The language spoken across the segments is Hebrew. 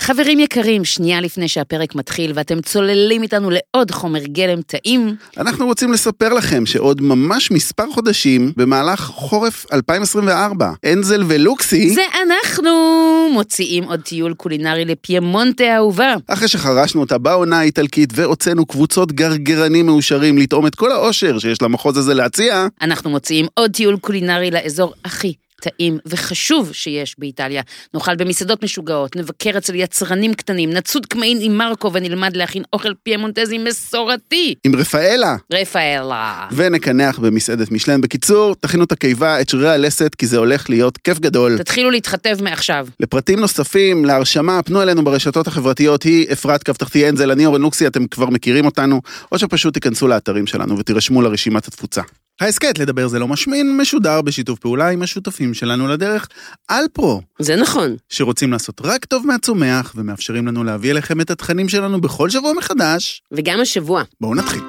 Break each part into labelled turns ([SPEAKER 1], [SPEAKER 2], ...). [SPEAKER 1] חברים יקרים, שנייה לפני שהפרק מתחיל ואתם צוללים איתנו לעוד חומר גלם טעים,
[SPEAKER 2] אנחנו רוצים לספר לכם שעוד ממש מספר חודשים, במהלך חורף 2024, אנזל ולוקסי,
[SPEAKER 1] זה אנחנו מוציאים עוד טיול קולינרי לפיימונטה האהובה.
[SPEAKER 2] אחרי שחרשנו אותה בעונה האיטלקית והוצאנו קבוצות גרגרנים מאושרים לטעום את כל האושר שיש למחוז הזה להציע,
[SPEAKER 1] אנחנו מוציאים עוד טיול קולינרי לאזור הכי טעים וחשוב שיש באיטליה. נאכל במסעדות משוגעות, נבקר אצל יצרנים קטנים, נצוד קמעין עם מרקו ונלמד להכין אוכל פיימונטזי מסורתי.
[SPEAKER 2] עם רפאלה.
[SPEAKER 1] רפאלה.
[SPEAKER 2] ונקנח במסעדת משלן. בקיצור, תכינו את הקיבה, את שרירי הלסת, כי זה הולך להיות כיף גדול.
[SPEAKER 1] תתחילו להתחתב מעכשיו.
[SPEAKER 2] לפרטים נוספים, להרשמה, פנו אלינו ברשתות החברתיות, היא אפרת קו תחתי אנזל, אני אורן לוקסי, אתם כבר מכירים אותנו, או שפשוט תיכנסו לאתרים שלנו ותירשמו לרשימת התפוצה. ההסכת לדבר זה לא משמין משודר בשיתוף פעולה עם השותפים שלנו לדרך, אלפרו,
[SPEAKER 3] זה נכון.
[SPEAKER 2] שרוצים לעשות רק טוב מהצומח ומאפשרים לנו להביא אליכם את התכנים שלנו בכל שבוע מחדש.
[SPEAKER 3] וגם השבוע.
[SPEAKER 2] בואו נתחיל.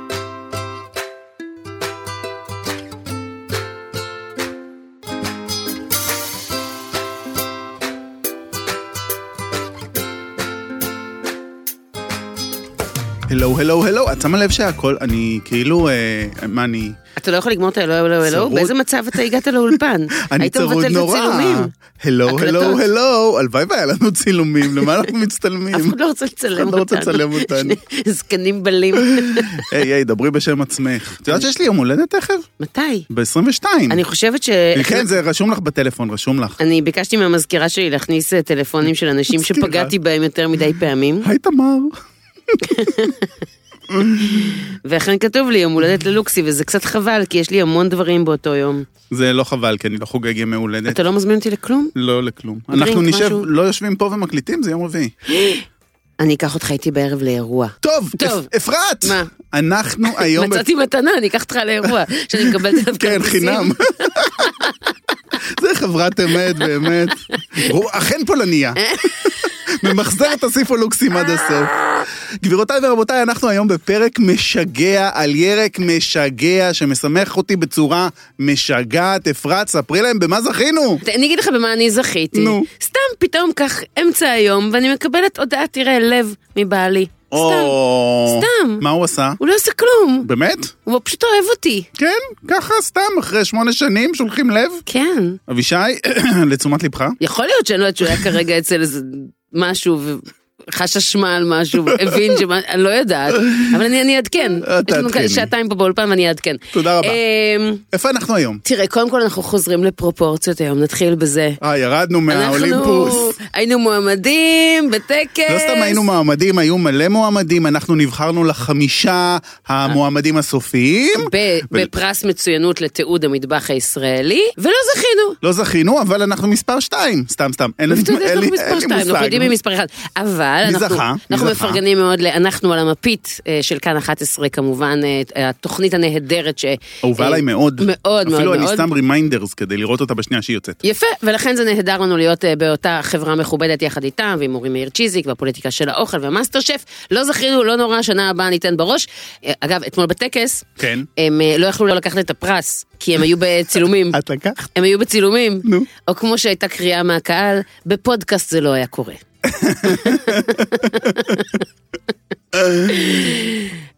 [SPEAKER 2] הלו, הלו, הלו, את שמה לב שהכל, אני כאילו, אה, מה אני,
[SPEAKER 3] אתה לא יכול לגמור את הלו, הלו, הלו?
[SPEAKER 2] צרוד.
[SPEAKER 3] באיזה מצב אתה הגעת לאולפן?
[SPEAKER 2] אני
[SPEAKER 3] היית
[SPEAKER 2] צרוד
[SPEAKER 3] מבטל את
[SPEAKER 2] נורא.
[SPEAKER 3] הצילומים.
[SPEAKER 2] הלו, הלו,
[SPEAKER 3] הקלטות.
[SPEAKER 2] הלו, הלוואי והיה לנו צילומים, למה אנחנו מצטלמים?
[SPEAKER 3] אף אחד לא רוצה לצלם אותנו.
[SPEAKER 2] לא רוצה לצלם אותנו.
[SPEAKER 3] שני זקנים בלים.
[SPEAKER 2] היי, היי, דברי בשם עצמך. את יודעת שיש לי יום הולדת תכף?
[SPEAKER 3] מתי?
[SPEAKER 2] ב-22.
[SPEAKER 3] אני חושבת ש...
[SPEAKER 2] כן, זה רשום לך בטלפון, רשום לך.
[SPEAKER 3] אני ביקשתי מהמזכירה שלי להכניס אה, טלפונים של אנשים
[SPEAKER 2] מזכירה.
[SPEAKER 3] שפגעתי בהם יותר מדי פעמים,
[SPEAKER 2] היי, תמר.
[SPEAKER 3] ואכן כתוב לי יום הולדת ללוקסי, וזה קצת חבל, כי יש לי המון דברים באותו יום.
[SPEAKER 2] זה לא חבל, כי אני לא חוגג ימי הולדת.
[SPEAKER 3] אתה לא מזמין אותי לכלום?
[SPEAKER 2] לא לכלום. אנחנו
[SPEAKER 3] דרינק,
[SPEAKER 2] נשב,
[SPEAKER 3] משהו?
[SPEAKER 2] לא יושבים פה ומקליטים, זה יום רביעי.
[SPEAKER 3] אני אקח אותך איתי בערב לאירוע.
[SPEAKER 2] טוב,
[SPEAKER 3] טוב.
[SPEAKER 2] אפ- אפרת!
[SPEAKER 3] מה?
[SPEAKER 2] אנחנו היום...
[SPEAKER 3] מצאתי מתנה, אני אקח אותך לאירוע, שאני מקבלת עליו
[SPEAKER 2] כן,
[SPEAKER 3] כרטיסים.
[SPEAKER 2] חינם. זה חברת אמת, באמת. הוא אכן פולניה. ממחזר תוסיפו לוקסים עד הסוף. גבירותיי ורבותיי, אנחנו היום בפרק משגע על ירק משגע שמשמח אותי בצורה משגעת. אפרת, ספרי להם במה זכינו.
[SPEAKER 3] ת- אני אגיד לך במה אני זכיתי.
[SPEAKER 2] נו.
[SPEAKER 3] סתם פתאום כך אמצע היום, ואני מקבלת הודעה, תראה, לב מבעלי. סתם.
[SPEAKER 2] או...
[SPEAKER 3] סתם.
[SPEAKER 2] מה הוא עשה?
[SPEAKER 3] הוא לא עושה כלום,
[SPEAKER 2] באמת?
[SPEAKER 3] הוא פשוט אוהב אותי.
[SPEAKER 2] כן, ככה סתם, אחרי שמונה שנים שולחים לב.
[SPEAKER 3] כן.
[SPEAKER 2] אבישי, לתשומת לבך.
[SPEAKER 3] יכול להיות שאני לא יודעת שהוא היה כרגע אצל איזה משהו, וחש אשמה על משהו, הבין שמה, אני לא יודעת, אבל אני אני אעדכן.
[SPEAKER 2] את
[SPEAKER 3] יש לנו
[SPEAKER 2] תעדכני.
[SPEAKER 3] שעתיים פה באולפן ואני אעדכן.
[SPEAKER 2] תודה רבה.
[SPEAKER 3] אמ,
[SPEAKER 2] איפה אנחנו היום?
[SPEAKER 3] תראה, קודם כל אנחנו חוזרים לפרופורציות היום, נתחיל בזה.
[SPEAKER 2] אה, ירדנו
[SPEAKER 3] אנחנו
[SPEAKER 2] מהאולימפוס.
[SPEAKER 3] היינו מועמדים בטקס.
[SPEAKER 2] לא סתם
[SPEAKER 3] אה,
[SPEAKER 2] היינו מועמדים, היו מלא מועמדים, אנחנו נבחרנו לחמישה המועמדים הסופיים.
[SPEAKER 3] ב-
[SPEAKER 2] ו-
[SPEAKER 3] בפרס מצוינות לתיעוד המטבח הישראלי, ולא זכינו.
[SPEAKER 2] לא זכינו, אבל אנחנו מספר שתיים. סתם, סתם, אין לי
[SPEAKER 3] אתה יודע,
[SPEAKER 2] אין לי-
[SPEAKER 3] אנחנו מספר
[SPEAKER 2] אין לי
[SPEAKER 3] שתיים, אנחנו יודעים מי
[SPEAKER 2] מושג.
[SPEAKER 3] מספר אחד. אבל
[SPEAKER 2] מי
[SPEAKER 3] אנחנו-
[SPEAKER 2] זכה? מי
[SPEAKER 3] אנחנו
[SPEAKER 2] זכה?
[SPEAKER 3] מפרגנים מאוד ל"אנחנו על המפית" אה, של כאן 11 כמובן, אה, התוכנית הנהדרת ש...
[SPEAKER 2] אהובה
[SPEAKER 3] אה,
[SPEAKER 2] עליי מאוד.
[SPEAKER 3] מאוד מאוד
[SPEAKER 2] אפילו אני
[SPEAKER 3] מאוד.
[SPEAKER 2] שם רימיינדרס כדי לראות אותה בשנייה שהיא יוצאת.
[SPEAKER 3] יפה, ולכן זה נהדר לנו להיות אה, באותה חברה מכובדת יחד איתם, ועם אורי מאיר צ'יזיק, והפוליטיקה של האוכל והמאסטר שף. לא זכינו, לא נורא, שנה הבאה ניתן בראש. אה, אגב, אתמול בטקס,
[SPEAKER 2] כן.
[SPEAKER 3] הם אה, לא יכלו לא לקחת את הפרס, כי הם היו בצילומים.
[SPEAKER 2] את לקחת?
[SPEAKER 3] הם היו בצילומים,
[SPEAKER 2] נו.
[SPEAKER 3] או כמו שהייתה קריאה מהקהל, בפודקאסט זה לא היה קורה.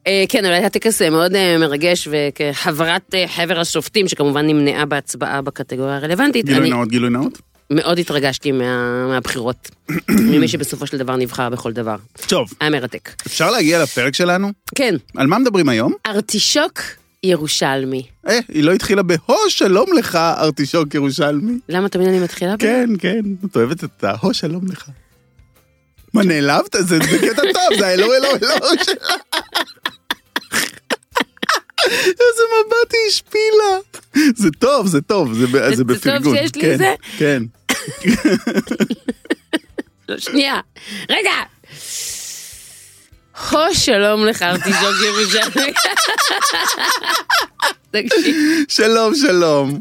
[SPEAKER 3] אה, כן, אבל היה טקס אה, מאוד אה, מרגש, וכחברת אה, חבר השופטים, שכמובן נמנעה בהצבעה בקטגוריה הרלוונטית,
[SPEAKER 2] גילוי
[SPEAKER 3] אני
[SPEAKER 2] נאות, גילוי נאות.
[SPEAKER 3] מאוד התרגשתי מה- מהבחירות, ממי שבסופו של דבר נבחר בכל דבר.
[SPEAKER 2] טוב,
[SPEAKER 3] היה מרתק.
[SPEAKER 2] אפשר להגיע לפרק שלנו?
[SPEAKER 3] כן,
[SPEAKER 2] על מה מדברים היום?
[SPEAKER 3] ארטישוק ירושלמי.
[SPEAKER 2] אה, היא לא התחילה ב"הו שלום לך, ארטישוק ירושלמי".
[SPEAKER 3] למה תמיד אני מתחילה? ב-
[SPEAKER 2] כן, כן, את אוהבת את ה"הו שלום לך". מה, נעלבת? זה זה קטע טוב, זה האלוהו אלוהו אלוהו שלך. איזה מבט היא השפילה. זה טוב, זה טוב, זה ב-
[SPEAKER 3] זה-
[SPEAKER 2] זה
[SPEAKER 3] זה טוב
[SPEAKER 2] בפרגון.
[SPEAKER 3] שיש לי
[SPEAKER 2] כן,
[SPEAKER 3] זה?
[SPEAKER 2] כן.
[SPEAKER 3] לא, שנייה. רגע! הו, שלום לך, ארטישוק ירושלמי. תקשיב,
[SPEAKER 2] שלום, שלום.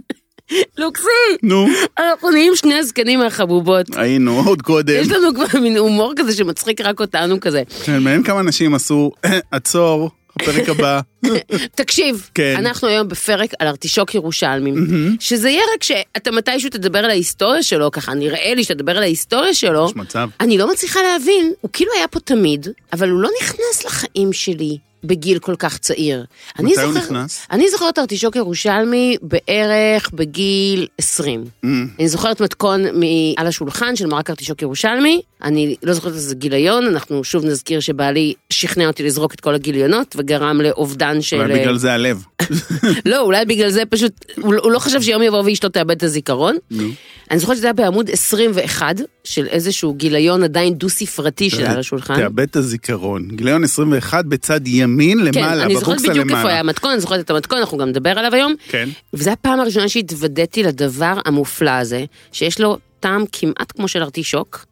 [SPEAKER 3] לוקסי,
[SPEAKER 2] נו,
[SPEAKER 3] אנחנו נהיים שני הזקנים מהחבובות.
[SPEAKER 2] היינו עוד קודם.
[SPEAKER 3] יש לנו כבר מין הומור כזה שמצחיק רק אותנו כזה.
[SPEAKER 2] כן, מעניין כמה אנשים עשו עצור, הפרק הבא.
[SPEAKER 3] תקשיב,
[SPEAKER 2] כן.
[SPEAKER 3] אנחנו היום בפרק על ארטישוק ירושלמים, שזה ירק שאתה מתישהו תדבר על ההיסטוריה שלו, ככה נראה לי שתדבר על ההיסטוריה שלו.
[SPEAKER 2] יש מצב.
[SPEAKER 3] אני לא מצליחה להבין, הוא כאילו היה פה תמיד, אבל הוא לא נכנס לחיים שלי בגיל כל כך צעיר. אני
[SPEAKER 2] מתי הוא
[SPEAKER 3] זוכר-
[SPEAKER 2] נכנס?
[SPEAKER 3] אני זוכרת ארטישוק ירושלמי בערך בגיל 20.
[SPEAKER 2] Mm.
[SPEAKER 3] אני זוכרת מתכון מ- על השולחן של מרק ארטישוק ירושלמי, אני לא זוכרת איזה גיליון, אנחנו שוב נזכיר שבעלי שכנע אותי לזרוק את כל הגיליונות וגרם לאובדן של...
[SPEAKER 2] אולי בגלל זה הלב.
[SPEAKER 3] לא, אולי בגלל זה פשוט, הוא לא- הוא לא חשב שיום יבוא ואשתו תאבד את הזיכרון.
[SPEAKER 2] נו.
[SPEAKER 3] אני זוכרת שזה היה בעמוד 21 של איזשהו גיליון עדיין דו-ספרתי שהיה על השולחן.
[SPEAKER 2] אה, תאבד את הזיכרון. גיליון 21 בצד ימין
[SPEAKER 3] כן,
[SPEAKER 2] למעלה,
[SPEAKER 3] אני זוכרת
[SPEAKER 2] בבוקסה
[SPEAKER 3] בדיוק איפה היה
[SPEAKER 2] למעלה.
[SPEAKER 3] המתכון, אני זוכרת את המתכון, אנחנו גם נדבר עליו היום.
[SPEAKER 2] כן.
[SPEAKER 3] וזו הפעם הראשונה שהתוודעתי לדבר המופלא הזה, שיש לו טעם כמעט כמו של ארטישוק,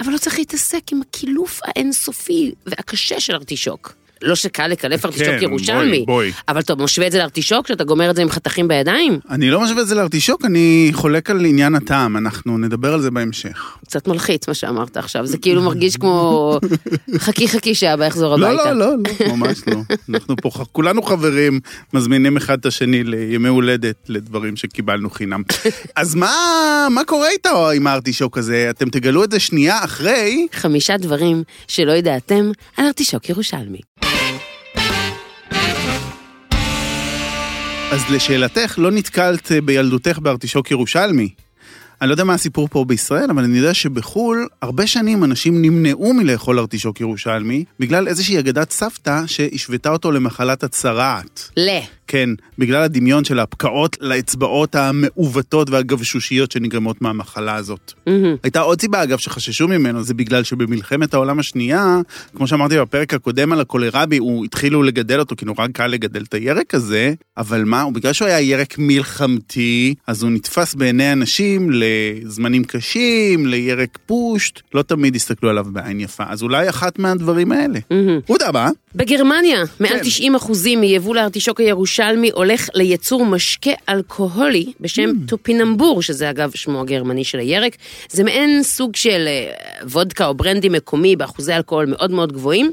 [SPEAKER 3] אבל לא צריך להתעסק עם הקילוף האינסופי והקשה של ארטישוק. לא שקל לקלף ארטישוק
[SPEAKER 2] בואי,
[SPEAKER 3] ירושלמי,
[SPEAKER 2] כן, בואי.
[SPEAKER 3] אבל אתה משווה את זה לארטישוק, שאתה גומר את זה עם חתכים בידיים?
[SPEAKER 2] אני לא משווה את זה לארטישוק, אני חולק על עניין הטעם, אנחנו נדבר על זה בהמשך.
[SPEAKER 3] קצת מלחיץ מה שאמרת עכשיו, זה כאילו מרגיש כמו חכי חכי שאבא יחזור
[SPEAKER 2] לא,
[SPEAKER 3] הביתה.
[SPEAKER 2] לא, לא, לא, ממש לא. אנחנו פה, ח- כולנו חברים, מזמינים אחד את השני לימי הולדת, לדברים שקיבלנו חינם. אז מה, מה קורה איתו עם הארטישוק הזה? אתם תגלו את זה שנייה אחרי,
[SPEAKER 3] חמישה דברים שלא ידעתם על ארטישוק ירושלמי.
[SPEAKER 2] אז לשאלתך, לא נתקלת בילדותך בארטישוק ירושלמי. אני לא יודע מה הסיפור פה בישראל, אבל אני יודע שבחו"ל, הרבה שנים אנשים נמנעו מלאכול ארטישוק ירושלמי, בגלל איזושהי אגדת סבתא שהשוותה אותו למחלת הצרעת.
[SPEAKER 3] ל.
[SPEAKER 2] כן, בגלל הדמיון של ההפקעות לאצבעות המעוותות והגבשושיות שנגרמות מהמחלה הזאת.
[SPEAKER 3] מהמם.
[SPEAKER 2] הייתה עוד סיבה, אגב, שחששו ממנו, זה בגלל שבמלחמת העולם השנייה, כמו שאמרתי בפרק הקודם על הקולרבי, הוא התחילו לגדל אותו, כי נורא קל לגדל את הירק הזה, אבל מה, הוא- בגלל שהוא היה ירק מלחמתי, אז הוא נתפס בעיני אנשים לזמנים קשים, לירק פושט, לא תמיד הסתכלו עליו בעין יפה, אז אולי אחת מהדברים האלה.
[SPEAKER 3] מהמם.
[SPEAKER 2] עודה מה?
[SPEAKER 3] בגרמניה, מעל
[SPEAKER 2] כן.
[SPEAKER 3] 90 אחוזים מיבול הארטישוק הירושלמי הולך לייצור משקה אלכוהולי בשם
[SPEAKER 2] Mm.
[SPEAKER 3] טופינמבור, שזה אגב שמו הגרמני של הירק. זה מעין סוג של אה, וודקה או ברנדי מקומי באחוזי אלכוהול מאוד מאוד גבוהים.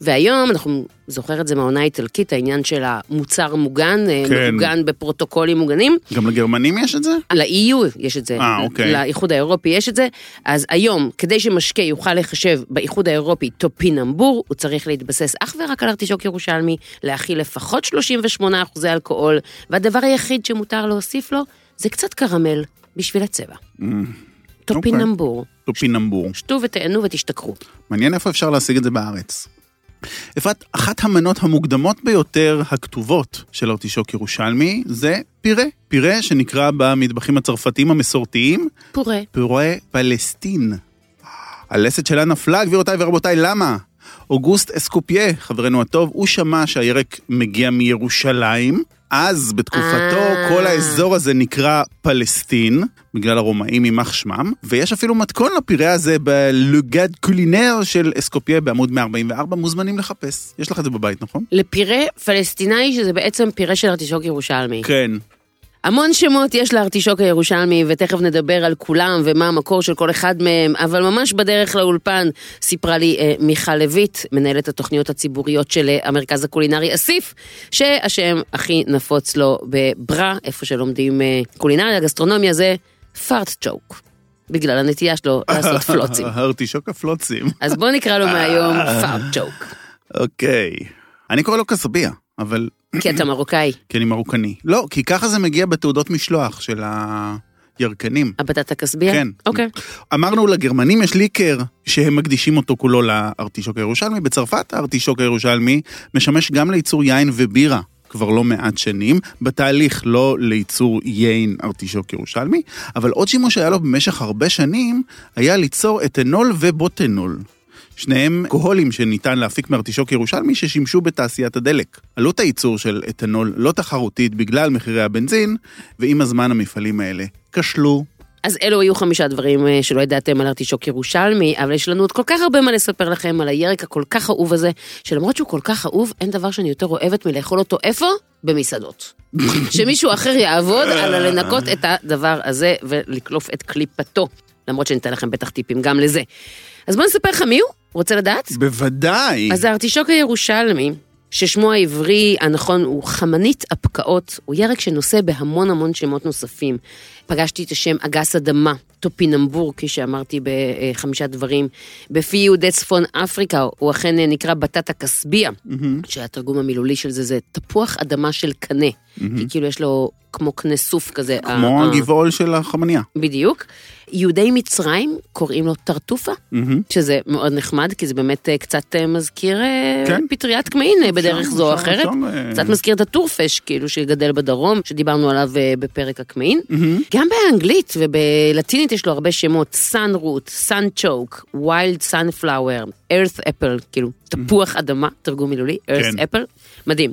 [SPEAKER 3] והיום אנחנו זוכר את זה מהעונה האיטלקית, העניין של המוצר מוגן, כן.
[SPEAKER 2] כן.
[SPEAKER 3] מוגן בפרוטוקולים מוגנים.
[SPEAKER 2] גם לגרמנים יש את זה?
[SPEAKER 3] ל-EU יש את זה,
[SPEAKER 2] אה, אוקיי.
[SPEAKER 3] לאיחוד האירופי יש את זה, אז היום, כדי שמשקה יוכל לחשב באיחוד האירופי טופינמבור, הוא צריך להתבסס אך ורק על ארטישוק ירושלמי, להכיל לפחות 38 אחוזי אלכוהול, והדבר היחיד שמותר להוסיף לו, זה קצת קרמל, בשביל הצבע.
[SPEAKER 2] Mm, אוקיי.
[SPEAKER 3] טופינמבור,
[SPEAKER 2] טופינמבור.
[SPEAKER 3] שתו ותהנו ותשתכרו.
[SPEAKER 2] מעניין איפה אפשר להשיג את זה בארץ. אפרת, אחת המנות המוקדמות ביותר הכתובות של ארטישוק ירושלמי זה פירה. פירה שנקרא במטבחים הצרפתיים המסורתיים
[SPEAKER 3] פורה.
[SPEAKER 2] פירה פלסטין. הלסת שלה נפלה, גבירותיי ורבותיי, למה? אוגוסט אסקופיה, חברנו הטוב, הוא שמע שהירק מגיע מירושלים. אז, בתקופתו,
[SPEAKER 3] אה.
[SPEAKER 2] כל האזור הזה נקרא פלסטין, בגלל הרומאים, יימח שמם, ויש אפילו מתכון לפירה הזה בלוגד קולינר של אסקופיה בעמוד 144, מוזמנים לחפש. יש לך את זה בבית, נכון?
[SPEAKER 3] לפירה פלסטיני, שזה בעצם פירה של ארטישוק ירושלמי.
[SPEAKER 2] כן.
[SPEAKER 3] המון שמות יש לארטישוק הירושלמי, ותכף נדבר על כולם ומה המקור של כל אחד מהם, אבל ממש בדרך לאולפן סיפרה לי אה, מיכל לויט, מנהלת התוכניות הציבוריות של אה, המרכז הקולינרי אסיף, שהשם הכי נפוץ לו בברה, איפה שלומדים אה, קולינריה, גסטרונומיה, זה פארט צ'וק, בגלל הנטייה שלו לעשות פלוצים.
[SPEAKER 2] ארטישוק הפלוצים.
[SPEAKER 3] אז בואו נקרא לו מהיום פארט צ'וק,
[SPEAKER 2] אוקיי. אני קורא לו קסביה, אבל
[SPEAKER 3] כי אתה מרוקאי,
[SPEAKER 2] כי אני מרוקני. לא, כי ככה זה מגיע בתעודות משלוח של הירקנים.
[SPEAKER 3] הבטטה כסביה?
[SPEAKER 2] כן.
[SPEAKER 3] אוקיי.
[SPEAKER 2] אמרנו לגרמנים יש ליקר שהם מקדישים אותו כולו לארטישוק הירושלמי. בצרפת הארטישוק הירושלמי משמש גם לייצור יין ובירה. כבר לא מעט שנים, בתהליך לא לייצור יין ארטישוק ירושלמי, אבל עוד שימוש שהיה לו במשך הרבה שנים, היה ליצור אתנול ובוטנול. שניהם אלכוהולים שניתן להפיק מארטישוק ירושלמי ששימשו בתעשיית הדלק. עלות הייצור של אתנול לא תחרותית בגלל מחירי הבנזין, ועם הזמן המפעלים האלה כשלו.
[SPEAKER 3] אז אלו היו חמישה דברים אה, שלא ידעתם על ארטישוק ירושלמי, אבל יש לנו עוד כל כך הרבה מה לספר לכם על הירק הכל כך אהוב הזה, שלמרות שהוא כל כך אהוב, אין דבר שאני יותר אוהבת מלאכול אותו איפה? במסעדות. שמישהו אחר יעבוד על לנקות את הדבר הזה ולקלוף את קליפתו. למרות שניתן לכם בטח טיפים גם לזה. אז בואו נספר לך מי הוא, רוצה לדעת?
[SPEAKER 2] בוודאי.
[SPEAKER 3] אז הארטישוק הירושלמי ששמו העברי הנכון הוא חמנית הפקעות, הוא ירק שנושא בהמון המון שמות נוספים. פגשתי את השם אגס אדמה, טופינמבור, כפי שאמרתי בחמישה דברים. בפי יהודי צפון אפריקה, הוא אכן נקרא בטטה כסביה, שהתרגום המילולי של זה זה תפוח אדמה של קנה, כי כאילו יש לו כמו קנה סוף כזה.
[SPEAKER 2] כמו
[SPEAKER 3] ה- ה-
[SPEAKER 2] הגבעול של החמניה.
[SPEAKER 3] בדיוק. יהודי מצרים קוראים לו טרטופה,
[SPEAKER 2] מהמם.
[SPEAKER 3] שזה מאוד נחמד, כי זה באמת אה, קצת אה, מזכיר אה,
[SPEAKER 2] כן.
[SPEAKER 3] פטריית קמעין אה, בדרך
[SPEAKER 2] אפשר,
[SPEAKER 3] זו או
[SPEAKER 2] אפשר,
[SPEAKER 3] אחרת.
[SPEAKER 2] אפשר, אה,
[SPEAKER 3] קצת מזכיר את הטורפש, כאילו, שגדל בדרום, שדיברנו עליו אה, בפרק הקמעין. גם באנגלית ובלטינית יש לו הרבה שמות, סאן רוט, סאן צ'וק, ויילד סאן פלאואר, ארת אפל, כאילו, תפוח אדמה, תרגום מילולי, ארת
[SPEAKER 2] כן.
[SPEAKER 3] אפל, מדהים.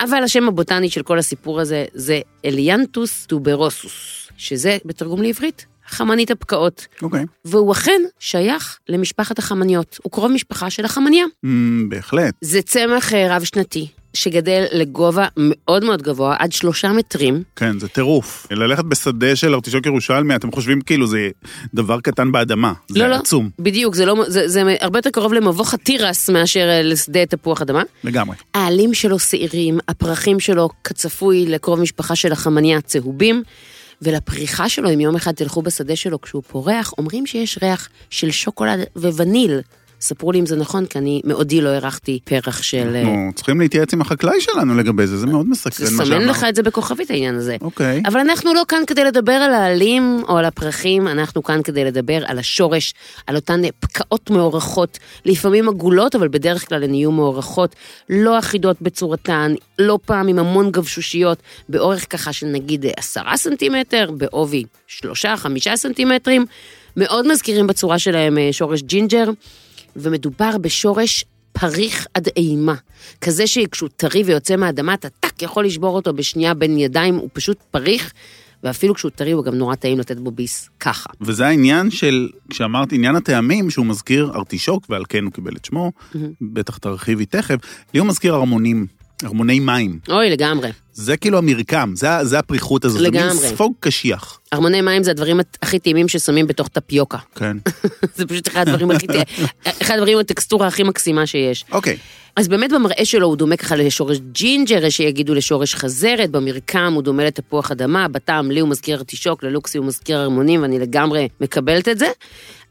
[SPEAKER 3] אבל השם הבוטני של כל הסיפור הזה זה אליאנטוס טוברוסוס, שזה בתרגום לעברית. חמנית הפקעות,
[SPEAKER 2] אוקיי.
[SPEAKER 3] והוא אכן שייך למשפחת החמניות, הוא קרוב משפחה של החמניה.
[SPEAKER 2] מ, אמ, בהחלט.
[SPEAKER 3] זה צמח אה, רב-שנתי, שגדל לגובה מאוד מאוד גבוה, עד שלושה מטרים.
[SPEAKER 2] כן, זה טירוף. ללכת בשדה של ארטישוק ירושלמי, אתם חושבים כאילו זה דבר קטן באדמה.
[SPEAKER 3] לא, לא.
[SPEAKER 2] זה עצום,
[SPEAKER 3] בדיוק, זה, לא, זה, זה הרבה יותר קרוב למבוך התירס מאשר אה, לשדה תפוח אדמה.
[SPEAKER 2] לגמרי.
[SPEAKER 3] העלים שלו שעירים, הפרחים שלו, כצפוי, לקרוב משפחה של החמניה צהובים, ולפריחה שלו, אם יום אחד תלכו בשדה שלו כשהוא פורח, אומרים שיש ריח של שוקולד ווניל. ספרו לי אם זה נכון, כי אני מעודי לא הרחתי פרח של... אה,
[SPEAKER 2] אנחנו צריכים להתייעץ עם החקלאי שלנו לגבי זה, זה מאוד מסקרן מה שאמרת.
[SPEAKER 3] תסמן לך את זה בכוכבית העניין הזה.
[SPEAKER 2] אוקיי.
[SPEAKER 3] אבל אנחנו לא כאן כדי לדבר על העלים או על הפרחים, אנחנו כאן כדי לדבר על השורש, על אותן פקעות מאורכות, לפעמים עגולות, אבל בדרך כלל הן יהיו מאורכות, לא אחידות בצורתן, לא פעם עם המון גבשושיות, באורך ככה של נגיד עשרה סנטימטר, בעובי שלושה, חמישה סנטימטרים, מאוד מזכירים בצורה שלהם אה, שורש ג'ינג'ר, ומדובר בשורש פריך עד אימה. כזה שכשהוא טרי ויוצא מהאדמה, אתה טאק יכול לשבור אותו בשנייה בין ידיים, הוא פשוט פריך, ואפילו כשהוא טרי הוא גם נורא טעים לתת בו ביס ככה.
[SPEAKER 2] וזה העניין של, כשאמרת עניין הטעמים, שהוא מזכיר ארטישוק, ועל כן הוא קיבל את שמו, בטח תרחיבי תכף, לי הוא מזכיר ארמונים, ארמוני מים.
[SPEAKER 3] אוי, לגמרי.
[SPEAKER 2] זה כאילו המרקם, זה, ה- זה הפריחות הזאת. זה
[SPEAKER 3] לגמרי.
[SPEAKER 2] מין ספוג קשיח.
[SPEAKER 3] ארמוני מים זה הדברים הת- הכי טעימים ששמים בתוך טפיוקה.
[SPEAKER 2] כן.
[SPEAKER 3] זה פשוט אחד הדברים הכי... אחד הדברים עם הטקסטורה הכי מקסימה שיש.
[SPEAKER 2] אוקיי.
[SPEAKER 3] אז באמת במראה שלו הוא דומה ככה לשורש ג'ינג'ר, יש שיגידו לשורש חזרת, במרקם הוא דומה לתפוח אדמה, בטעם לי הוא מזכיר ארטישוק, ללוקסי הוא מזכיר ארמונים, ואני לגמרי מקבלת את זה.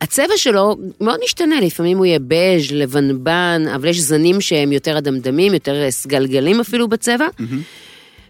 [SPEAKER 3] הצבע שלו מאוד משתנה, לפעמים הוא יהיה בז', לבנבן, אבל יש זנים שהם יותר אדמדמים, יותר אה, סגלגלים אפילו בצבע.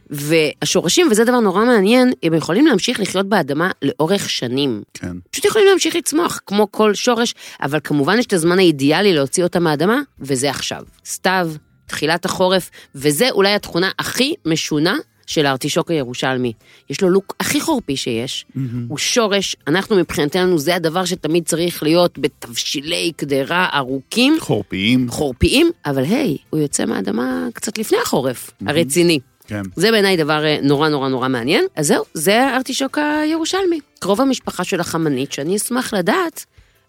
[SPEAKER 3] והשורשים, וזה דבר נורא מעניין, הם יכולים להמשיך לחיות באדמה לאורך שנים.
[SPEAKER 2] כן.
[SPEAKER 3] פשוט יכולים להמשיך לצמוח, כמו כל שורש, אבל כמובן יש את הזמן האידיאלי להוציא אותה מהאדמה, וזה עכשיו. סתיו, תחילת החורף, וזה אולי התכונה הכי משונה של הארטישוק הירושלמי. יש לו לוק הכי חורפי שיש, הוא שורש, אנחנו מבחינתנו זה הדבר שתמיד צריך להיות בתבשילי קדרה ארוכים,
[SPEAKER 2] חורפיים.
[SPEAKER 3] חורפיים, אבל היי, הוא יוצא מהאדמה קצת לפני החורף, הרציני.
[SPEAKER 2] כן.
[SPEAKER 3] זה בעיניי דבר אה, נורא נורא נורא מעניין. אז זהו, זה הארטישוק הירושלמי. קרוב המשפחה של החמנית, שאני אשמח לדעת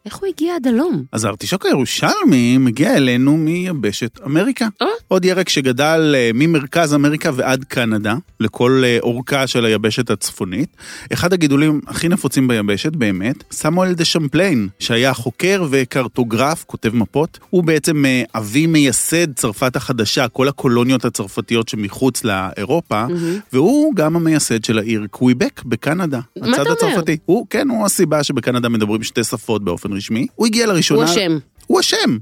[SPEAKER 3] איך הוא הגיע עד הלום.
[SPEAKER 2] אז הארטישוק הירושלמי מגיע אלינו מיבשת אמריקה.
[SPEAKER 3] אה.
[SPEAKER 2] עוד ירק שגדל אה, ממרכז אמריקה ועד קנדה, לכל אה, אורכה של היבשת הצפונית. אחד הגידולים הכי נפוצים ביבשת, באמת, סמואל דה שמפליין, שהיה חוקר וקרטוגרף, כותב מפות. הוא בעצם אה, אבי מייסד צרפת החדשה, כל הקולוניות הצרפתיות שמחוץ לאירופה, והוא גם המייסד של העיר קוויבק בקנדה.
[SPEAKER 3] מה אתה
[SPEAKER 2] הצד
[SPEAKER 3] אומר?
[SPEAKER 2] הצרפתי. הוא, כן, הוא הסיבה שבקנדה מדברים שתי שפות באופן רשמי. הוא הגיע לראשונה...
[SPEAKER 3] הוא אשם.
[SPEAKER 2] הוא אשם.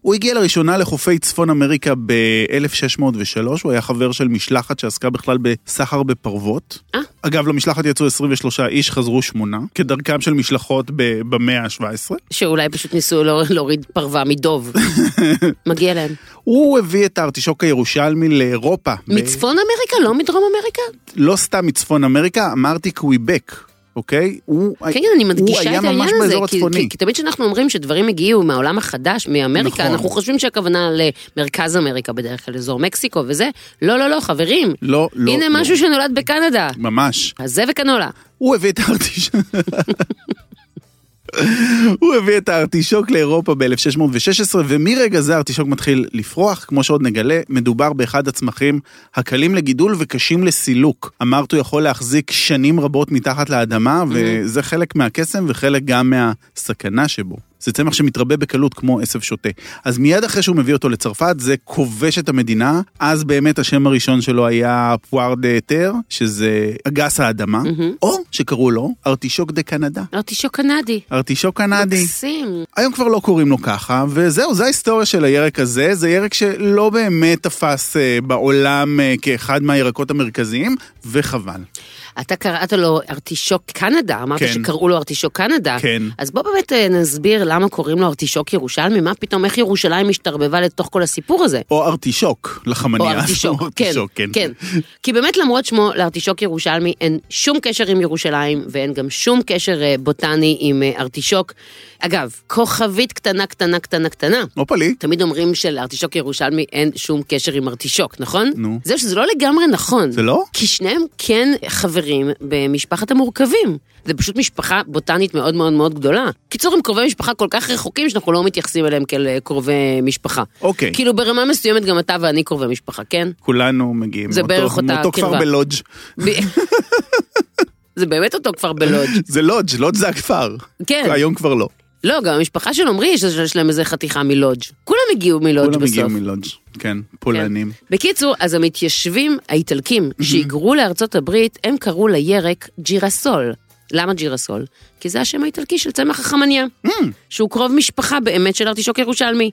[SPEAKER 2] הוא הגיע לראשונה לחופי צפון אמריקה ב-1603, הוא היה חבר של משלחת שעסקה בכלל בסחר בפרוות.
[SPEAKER 3] אה.
[SPEAKER 2] אגב, למשלחת יצאו 23 איש, חזרו שמונה, כדרכם של משלחות ב- במאה ה-17.
[SPEAKER 3] שאולי פשוט ניסו לא- להוריד פרווה מדוב. מגיע להם.
[SPEAKER 2] הוא הביא את הארטישוק הירושלמי לאירופה. ב-
[SPEAKER 3] מצפון אמריקה, לא מדרום אמריקה?
[SPEAKER 2] לא סתם מצפון אמריקה, אמרתי קוויבק, אוקיי? הוא...
[SPEAKER 3] כן, אני מדגישה את
[SPEAKER 2] הוא היה
[SPEAKER 3] העניין
[SPEAKER 2] ממש
[SPEAKER 3] הזה.
[SPEAKER 2] באזור
[SPEAKER 3] כי-
[SPEAKER 2] הצפוני.
[SPEAKER 3] כי- כי תמיד כשאנחנו אומרים שדברים הגיעו מהעולם החדש, מאמריקה,
[SPEAKER 2] נכון.
[SPEAKER 3] אנחנו חושבים שהכוונה למרכז אמריקה בדרך כלל, אזור מקסיקו וזה. לא, לא, לא, חברים.
[SPEAKER 2] לא, לא.
[SPEAKER 3] הנה
[SPEAKER 2] לא.
[SPEAKER 3] משהו שנולד בקנדה.
[SPEAKER 2] ממש.
[SPEAKER 3] אז זה וקנולה.
[SPEAKER 2] הוא הביא את הארטישוק. הוא הביא את הארטישוק לאירופה ב-1616, ומרגע זה הארטישוק מתחיל לפרוח, כמו שעוד נגלה, מדובר באחד הצמחים הקלים לגידול וקשים לסילוק. אמרת, הוא יכול להחזיק שנים רבות מתחת לאדמה, וזה חלק מהקסם וחלק גם מהסכנה שבו. זה צמח שמתרבה בקלות כמו עשב שוטה. אז מיד אחרי שהוא מביא אותו לצרפת, זה כובש את המדינה. אז באמת השם הראשון שלו היה פואר דה היתר, שזה אגס האדמה, או שקראו לו ארטישוק דה קנדה.
[SPEAKER 3] ארטישוק קנדי.
[SPEAKER 2] ארטישוק קנדי.
[SPEAKER 3] מקסים.
[SPEAKER 2] היום כבר לא קוראים לו ככה, וזהו, זו ההיסטוריה של הירק הזה. זה ירק שלא באמת תפס אה, בעולם אה, כאחד מהירקות המרכזיים, וחבל.
[SPEAKER 3] אתה קראת לו ארטישוק קנדה, אמרת
[SPEAKER 2] כן.
[SPEAKER 3] שקראו לו ארטישוק קנדה.
[SPEAKER 2] כן.
[SPEAKER 3] אז בוא באמת אה, נסביר למה קוראים לו ארטישוק ירושלמי, מה פתאום, איך ירושלים השתרבבה לתוך כל הסיפור הזה.
[SPEAKER 2] או ארטישוק,
[SPEAKER 3] או
[SPEAKER 2] לחמניה.
[SPEAKER 3] ארטישוק,
[SPEAKER 2] או
[SPEAKER 3] כן,
[SPEAKER 2] ארטישוק,
[SPEAKER 3] כן. כי באמת למרות שמו, לארטישוק ירושלמי אין שום קשר עם ירושלים, ואין גם שום קשר אה, בוטני עם אה, ארטישוק. אגב, כוכבית קטנה, קטנה, קטנה, קטנה.
[SPEAKER 2] לא פליט.
[SPEAKER 3] תמיד אומרים שלארטישוק ירושלמי אין שום קשר עם ארטישוק, נכון?
[SPEAKER 2] נו.
[SPEAKER 3] זהו שזה לא לגמרי נכון.
[SPEAKER 2] זה לא?
[SPEAKER 3] כי שניהם כן חברים במשפחת המורכבים. זה פשוט משפחה בוטנית מאוד מאוד מאוד גדולה. קיצור, הם קרובי משפחה כל כך רחוקים שאנחנו לא מתייחסים אליהם כאל אה, קרובי משפחה.
[SPEAKER 2] אוקיי.
[SPEAKER 3] כאילו ברמה מסוימת גם אתה ואני קרובי משפחה, כן?
[SPEAKER 2] כולנו מגיעים
[SPEAKER 3] זה
[SPEAKER 2] מאותו-
[SPEAKER 3] בערך אותה
[SPEAKER 2] מאותו
[SPEAKER 3] קרבה.
[SPEAKER 2] כפר בלודג'.
[SPEAKER 3] ב- זה באמת אותו כפר בלודג'.
[SPEAKER 2] זה לודג', לודג' זה הכפר.
[SPEAKER 3] כן.
[SPEAKER 2] היום כבר לא.
[SPEAKER 3] לא, גם המשפחה של עמרי יש- יש להם איזה חתיכה מלודג'. כולם הגיעו מלודג'
[SPEAKER 2] כולם
[SPEAKER 3] בסוף.
[SPEAKER 2] מגיעים מלודג', כן, פולנים.
[SPEAKER 3] בקיצור, אז המתיישבים האיטלקים שהיגרו לארצות הברית, הם קראו לירק ג'ירסול. למה ג'ירסול? כי זה השם האיטלקי של צמח החמניה, שהוא קרוב משפחה באמת של ארטישוק ירושלמי.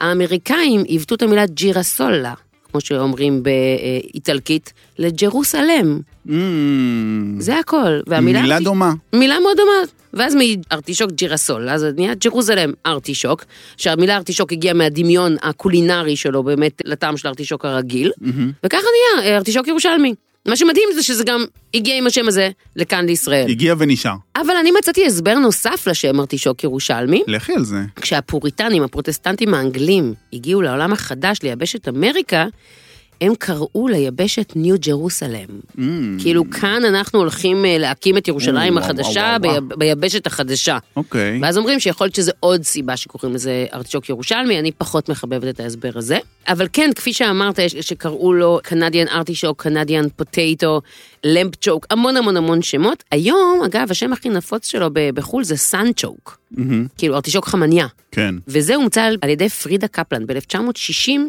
[SPEAKER 3] האמריקאים עיוותו את המילה ג'ירסולה, כמו שאומרים באיטלקית, לג'רוסלם.
[SPEAKER 2] Mm,
[SPEAKER 3] זה הכל. והמילה...
[SPEAKER 2] מילה דומה.
[SPEAKER 3] מילה מאוד דומה. ואז מארטישוק ג'ירסול, אז זה נהיה ג'רוזלם ארטישוק, שהמילה ארטישוק הגיעה מהדמיון הקולינרי שלו באמת לטעם של ארטישוק הרגיל, וככה נהיה אה, ארטישוק ירושלמי. מה שמדהים זה שזה גם הגיע עם השם הזה לכאן לישראל.
[SPEAKER 2] הגיע ונשאר.
[SPEAKER 3] אבל אני מצאתי הסבר נוסף לשם ארטישוק ירושלמי,
[SPEAKER 2] לכי על זה.
[SPEAKER 3] כשהפוריטנים, הפרוטסטנטים האנגלים, הגיעו לעולם החדש, ליבשת אמריקה, הם קראו ליבשת ניו ג'רוסלם.
[SPEAKER 2] Mm,
[SPEAKER 3] כאילו כאן אנחנו הולכים אה, להקים את ירושלים
[SPEAKER 2] וואו,
[SPEAKER 3] החדשה
[SPEAKER 2] וואו, וואו.
[SPEAKER 3] ביב- ביבשת החדשה.
[SPEAKER 2] אוקיי.
[SPEAKER 3] ואז אומרים שיכול להיות שזה עוד סיבה שקוראים לזה ארטישוק ירושלמי, אני פחות מחבבת את ההסבר הזה. אבל כן, כפי שאמרת, יש- שקראו לו קנדיאן ארטישוק, קנדיאן פוטטו, למפ צ'וק, המון המון המון שמות. היום, אגב, השם הכי נפוץ שלו ב- בחו"ל זה סאן צ'וק,
[SPEAKER 2] מהמם,
[SPEAKER 3] כאילו ארטישוק חמניה.
[SPEAKER 2] כן.
[SPEAKER 3] וזה הומצא על- על ידי פרידה קפלן ב-1960, שהיא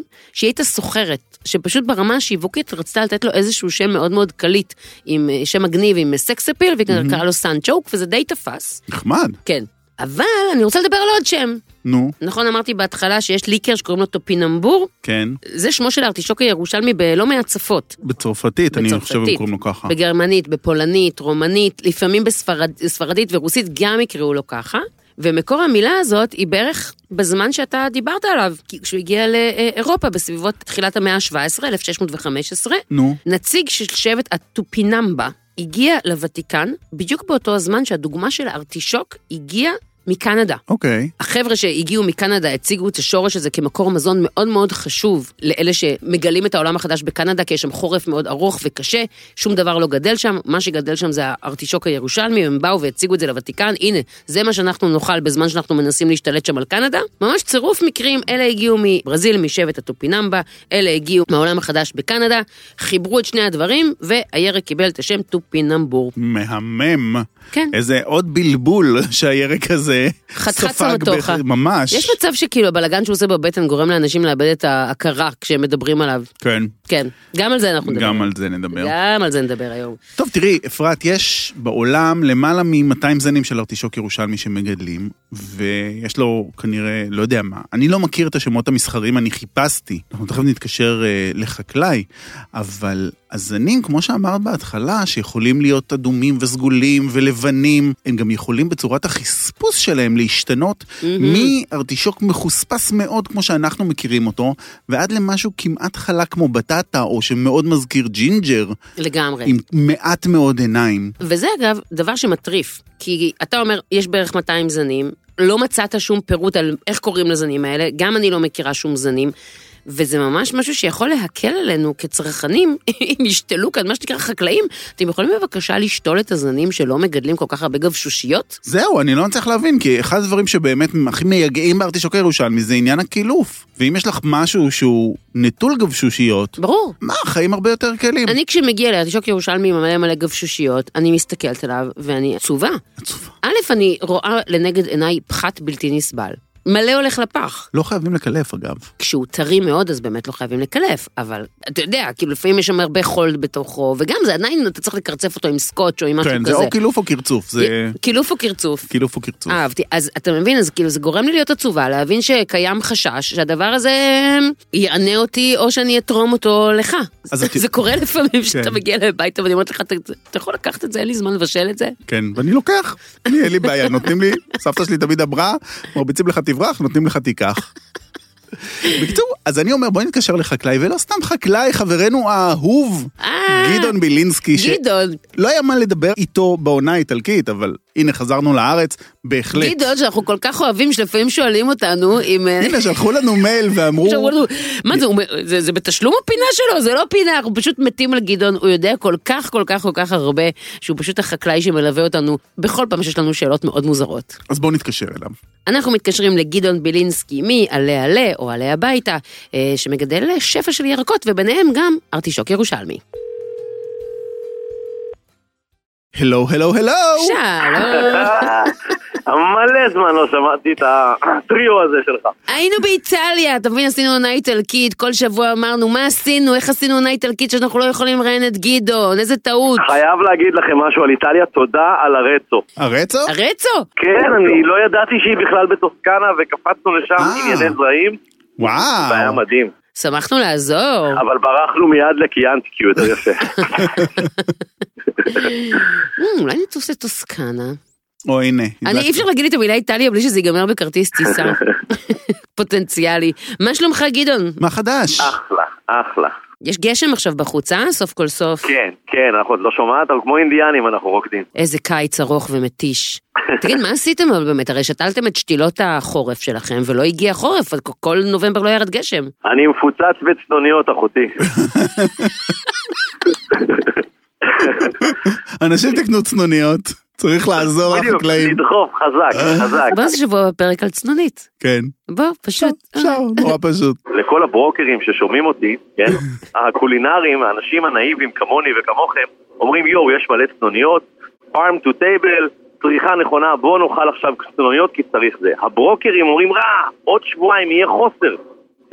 [SPEAKER 3] הייתה סוחרת, שפשוט ברמה השיווקית רצתה לתת לו איזשהו שם מאוד מאוד קליט, עם אה, שם מגניב, עם אה, סקס אפיל, והיא קראה לו סאן צ'וק, וזה די תפס.
[SPEAKER 2] נחמד.
[SPEAKER 3] כן. אבל אני רוצה לדבר על עוד שם.
[SPEAKER 2] נו,
[SPEAKER 3] נכון, אמרתי בהתחלה שיש ליקר שקוראים לו טופינמבור,
[SPEAKER 2] כן.
[SPEAKER 3] זה שמו של הארטישוק הירושלמי בלא מעט שפות.
[SPEAKER 2] בצרפתית, אני
[SPEAKER 3] בצרפתית,
[SPEAKER 2] חושב הם קוראים לו ככה.
[SPEAKER 3] בגרמנית, בפולנית, רומנית, לפעמים בספרדית בספרד, ורוסית גם יקראו לו ככה. ומקור המילה הזאת היא בערך בזמן שאתה דיברת עליו, כי כשהוא הגיע לאירופה בסביבות תחילת המאה ה-17, 1615,
[SPEAKER 2] נו.
[SPEAKER 3] נציג של שבט הטופינמבה הגיע לוותיקן בדיוק באותו הזמן שהדוגמה של הארטישוק הגיעה מקנדה.
[SPEAKER 2] אוקיי.
[SPEAKER 3] החבר'ה שהגיעו מקנדה הציגו את השורש הזה כמקור מזון מאוד מאוד חשוב לאלה שמגלים את העולם החדש בקנדה, כי יש שם חורף מאוד ארוך וקשה, שום דבר לא גדל שם, מה שגדל שם זה הארטישוק הירושלמי, הם באו והציגו את זה לוותיקן, הנה, זה מה שאנחנו נאכל בזמן שאנחנו מנסים להשתלט שם על קנדה. ממש צירוף מקרים, אלה הגיעו מברזיל, משבט הטופינמבה, אלה הגיעו מהעולם החדש בקנדה, חיברו את שני הדברים, והירק קיבל את השם טופינמבור.
[SPEAKER 2] מהמם.
[SPEAKER 3] כן.
[SPEAKER 2] איזה עוד בלבול שהירק הזה
[SPEAKER 3] חתיכת
[SPEAKER 2] ספג.
[SPEAKER 3] סמטוחה.
[SPEAKER 2] בח- ממש.
[SPEAKER 3] יש מצב שכאילו הבלגן שהוא עושה בבטן גורם לאנשים לאבד את ההכרה כשהם מדברים עליו.
[SPEAKER 2] כן.
[SPEAKER 3] כן, גם על זה אנחנו נדבר.
[SPEAKER 2] גם על זה נדבר.
[SPEAKER 3] גם על זה נדבר היום.
[SPEAKER 2] טוב, תראי, אפרת, יש בעולם למעלה מ-200 זנים של ארטישוק ירושלמי שמגדלים, ויש לו כנראה, לא יודע מה, אני לא מכיר את השמות המסחריים, אני חיפשתי. אנחנו תכף נתקשר אה, לחקלאי, אבל הזנים, כמו שאמרת בהתחלה, שיכולים להיות אדומים וסגולים ולבנים, הם גם יכולים בצורת החספוס שלהם להשתנות מארטישוק מחוספס מאוד, כמו שאנחנו מכירים אותו, ועד למשהו כמעט חלק כמו בטטה, או שמאוד מזכיר ג'ינג'ר.
[SPEAKER 3] לגמרי.
[SPEAKER 2] עם מעט מאוד עיניים.
[SPEAKER 3] וזה אגב דבר שמטריף, כי אתה אומר, יש בערך 200 זנים, לא מצאת שום פירוט על איך קוראים לזנים האלה, גם אני לא מכירה שום זנים. וזה ממש משהו שיכול להקל עלינו כצרכנים, אם ישתלו כאן, מה שנקרא חקלאים. אתם יכולים בבקשה לשתול את הזנים שלא מגדלים כל כך הרבה גבשושיות?
[SPEAKER 2] זהו, אני לא מצליח להבין, כי אחד הדברים שבאמת הכי מייגעים בארטישוק הירושלמי זה עניין הקילוף. ואם יש לך משהו שהוא נטול גבשושיות,
[SPEAKER 3] ברור.
[SPEAKER 2] מה, חיים הרבה יותר קלים.
[SPEAKER 3] אני כשמגיע לארטישוק ירושלמי עם מלא מלא גבשושיות, אני מסתכלת עליו ואני עצובה.
[SPEAKER 2] עצובה.
[SPEAKER 3] א', אני רואה לנגד עיניי פחת בלתי נסבל. מלא הולך לפח.
[SPEAKER 2] לא חייבים לקלף, אגב.
[SPEAKER 3] כשהוא טרי מאוד, אז באמת לא חייבים לקלף, אבל אתה יודע, כאילו לפעמים יש שם הרבה חול בתוכו, וגם זה עדיין, אתה צריך לקרצף אותו עם סקוץ' או עם משהו
[SPEAKER 2] כן, זה
[SPEAKER 3] כזה. אה.
[SPEAKER 2] או קילוף או קרצוף, זה
[SPEAKER 3] קילוף או קרצוף?
[SPEAKER 2] קילוף או קרצוף.
[SPEAKER 3] אה, אהבתי. אז אתה מבין, אז כאילו זה גורם לי להיות עצובה, להבין שקיים חשש שהדבר הזה אה, יענה אותי, או שאני אתרום אותו לך.
[SPEAKER 2] אז
[SPEAKER 3] זה-
[SPEAKER 2] את-
[SPEAKER 3] זה קורה לפעמים שאתה
[SPEAKER 2] כן.
[SPEAKER 3] מגיע לביתה ואני אומרת לך, "אתה- אתה יכול לקחת את זה, אין לי זמן לבשל את זה?
[SPEAKER 2] כן, ואני לוקח, אני, אין לי בעיה, נותנים לי, סבתא שלי תמיד אמרה, מרביצים לך תברח, נותנים לך תיקח. בקיצור, אז אני אומר, בוא נתקשר לחקלאי, ולא סתם חקלאי, חברנו האהוב,
[SPEAKER 3] אה,
[SPEAKER 2] גדעון בילינסקי, שלא
[SPEAKER 3] גדעון,
[SPEAKER 2] לא היה מה לדבר איתו בעונה האיטלקית, אבל הנה, חזרנו לארץ, בהחלט.
[SPEAKER 3] גדעון שאנחנו כל כך אוהבים, שלפעמים שואלים אותנו אם... אה,
[SPEAKER 2] הנה, שלחו לנו מייל ואמרו,
[SPEAKER 3] עכשיו, וואלה, מה זה, הוא אומר, זה, זה בתשלום הפינה שלו, זה לא פינה, אנחנו פשוט מתים על גדעון, הוא יודע כל כך כל כך כל כך הרבה, שהוא פשוט החקלאי שמלווה אותנו בכל פעם שיש לנו שאלות מאוד מוזרות.
[SPEAKER 2] אז בואו נתקשר אליו.
[SPEAKER 3] אנחנו מתקשרים לגדעון בילינסקי מעלה עלה או עלה הביתה, אה, שמגדל שפע של ירקות וביניהם גם ארטישוק ירושלמי.
[SPEAKER 2] הלו, הלו, הלו!
[SPEAKER 3] שלום,
[SPEAKER 4] אה, מלא זמן לא שמעתי את הטריו הזה שלך.
[SPEAKER 3] היינו באיטליה, אתה מבין, עשינו עונה איטלקית, כל שבוע אמרנו מה עשינו, איך עשינו עונה איטלקית שאנחנו לא יכולים לראיין את גדעון, איזה טעות.
[SPEAKER 4] חייב להגיד לכם משהו על איטליה, תודה על הרצו.
[SPEAKER 2] הרצו?
[SPEAKER 3] הרצו?
[SPEAKER 4] כן, אני לא ידעתי שהיא בכלל בטוסקנה וקפצנו לשם
[SPEAKER 2] אה.
[SPEAKER 4] ענייני זרעים, והיה
[SPEAKER 2] וואו.
[SPEAKER 4] מדהים.
[SPEAKER 3] שמחנו לעזור.
[SPEAKER 4] אבל ברחנו מיד לקיאנטי כי הוא יותר יפה.
[SPEAKER 3] "מ, Hmm, אולי נטוס לטוסקנה.
[SPEAKER 2] או הנה.
[SPEAKER 3] אני אי אפשר להגיד את המילה איטליה בלי שזה ייגמר בכרטיס טיסה. פוטנציאלי. מה שלומך גדעון?
[SPEAKER 2] מה חדש?
[SPEAKER 4] אחלה, אחלה.
[SPEAKER 3] יש גשם עכשיו בחוץ, אה? סוף כל סוף.
[SPEAKER 4] כן, כן, אנחנו עוד לא שומעת, אבל כמו אינדיאנים אנחנו רוקדים.
[SPEAKER 3] איזה קיץ ארוך ומתיש. תגיד, מה עשיתם אבל באמת? הרי שתלתם את שתילות החורף שלכם, ולא הגיע חורף, אז כל נובמבר לא ירד גשם.
[SPEAKER 4] אני מפוצץ בצנוניות, אחותי.
[SPEAKER 2] אנשים תקנו צנוניות, צריך לעזור
[SPEAKER 4] בדיוק,
[SPEAKER 2] לחקלאים.
[SPEAKER 4] לדחוף, חזק, חזק.
[SPEAKER 3] בוא נעשה שבוע בפרק על צנונית.
[SPEAKER 2] כן.
[SPEAKER 3] בוא, פשוט.
[SPEAKER 2] אפשר, נורא פשוט.
[SPEAKER 4] לכל הברוקרים ששומעים אותי, כן, הקולינרים, האנשים הנאיבים כמוני וכמוכם, אומרים יואו, יש מלא צנוניות, farm to table, צריכה נכונה, בוא נאכל עכשיו צנוניות כי צריך זה. הברוקרים אומרים רע, עוד שבועיים יהיה חוסר.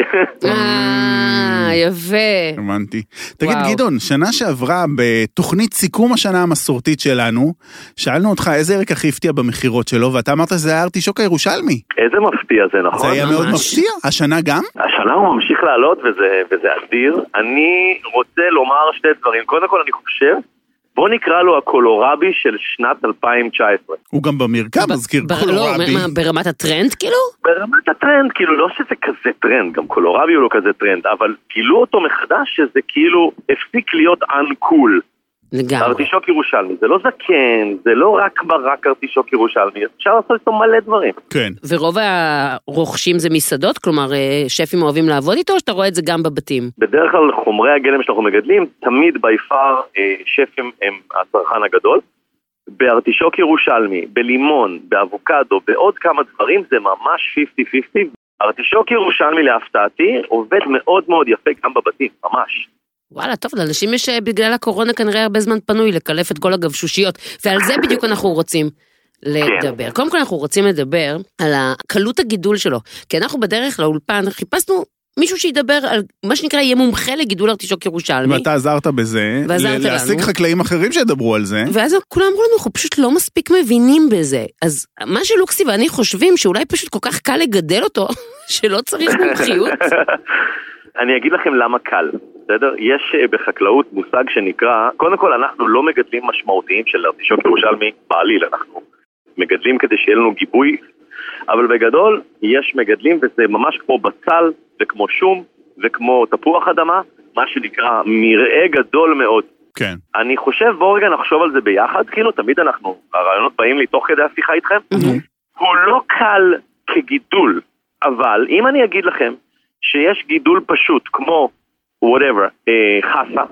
[SPEAKER 3] אה, יפה.
[SPEAKER 2] הבנתי. תגיד,
[SPEAKER 3] וואו.
[SPEAKER 2] גדעון, שנה שעברה, בתוכנית סיכום השנה המסורתית שלנו, שאלנו אותך איזה ירק הכי הפתיע במכירות שלו, ואתה אמרת שזה היה הארטישוק הירושלמי.
[SPEAKER 4] איזה מפתיע זה,
[SPEAKER 2] זה
[SPEAKER 4] נכון?
[SPEAKER 2] היה
[SPEAKER 3] ממש.
[SPEAKER 2] מאוד מפתיע. השנה גם?
[SPEAKER 4] השנה הוא ממשיך לעלות וזה, וזה אדיר. אני רוצה לומר שני דברים. קודם כל, אני חושב, בוא נקרא לו הקולורבי של שנת 2019.
[SPEAKER 2] הוא גם במרקם, מזכיר
[SPEAKER 3] בר- לא,
[SPEAKER 2] קולורבי.
[SPEAKER 3] מה, ברמת הטרנד כאילו?
[SPEAKER 4] ברמת הטרנד, כאילו, לא שזה כזה טרנד, גם קולורבי הוא לא כזה טרנד, אבל גילו אותו מחדש שזה כאילו הפסיק להיות אנקול.
[SPEAKER 3] לגמרי.
[SPEAKER 4] ארטישוק ירושלמי, זה לא זקן, זה לא רק ברק ארטישוק ירושלמי, אפשר לעשות איתו מלא דברים.
[SPEAKER 2] כן.
[SPEAKER 3] ורוב הרוכשים זה מסעדות? כלומר, אה, שפים אוהבים לעבוד איתו, או שאתה רואה את זה גם בבתים?
[SPEAKER 4] בדרך כלל חומרי הגלם שאנחנו מגדלים, תמיד בי פאר אה, שפים הם הצרכן הגדול. בארטישוק ירושלמי, בלימון, באבוקדו, בעוד כמה דברים, זה ממש 50-50. ארטישוק ירושלמי להפתעתי עובד מאוד מאוד יפה גם בבתים, ממש.
[SPEAKER 3] וואלה, טוב, לאנשים יש אה, בגלל הקורונה כנראה הרבה זמן פנוי לקלף את כל הגבשושיות, ועל זה בדיוק אנחנו רוצים. לדבר. קודם כל אנחנו רוצים לדבר על הקלות הגידול שלו, כי אנחנו בדרך לאולפן חיפשנו מישהו שידבר על מה שנקרא יהיה מומחה לגידול ארטישוק ירושלמי.
[SPEAKER 2] ואתה עזרת בזה,
[SPEAKER 3] ועזרת
[SPEAKER 2] ל-
[SPEAKER 3] לנו.
[SPEAKER 2] להשיג חקלאים אחרים שידברו על זה.
[SPEAKER 3] ואז כולם אמרו לנו, אנחנו פשוט לא מספיק מבינים בזה. אז מה שלוקסי ואני חושבים, שאולי פשוט כל כך קל לגדל אותו, שלא צריך מומחיות.
[SPEAKER 4] אני אגיד לכם למה קל, בסדר? יש אה, בחקלאות מושג שנקרא, קודם כל אנחנו לא מגדלים משמעותיים של ארטישוק ירושלמי בעליל, אנחנו מגדלים כדי שיהיה לנו גיבוי, אבל בגדול יש מגדלים וזה ממש כמו בצל וכמו שום וכמו תפוח אדמה, מה שנקרא מרעה גדול מאוד.
[SPEAKER 2] כן.
[SPEAKER 4] אני חושב, בואו רגע נחשוב על זה ביחד, כאילו תמיד אנחנו, הרעיונות באים לי תוך כדי השיחה איתכם, הוא לא קל כגידול, אבל אם אני אגיד לכם שיש גידול פשוט, כמו whatever, אה, חסה,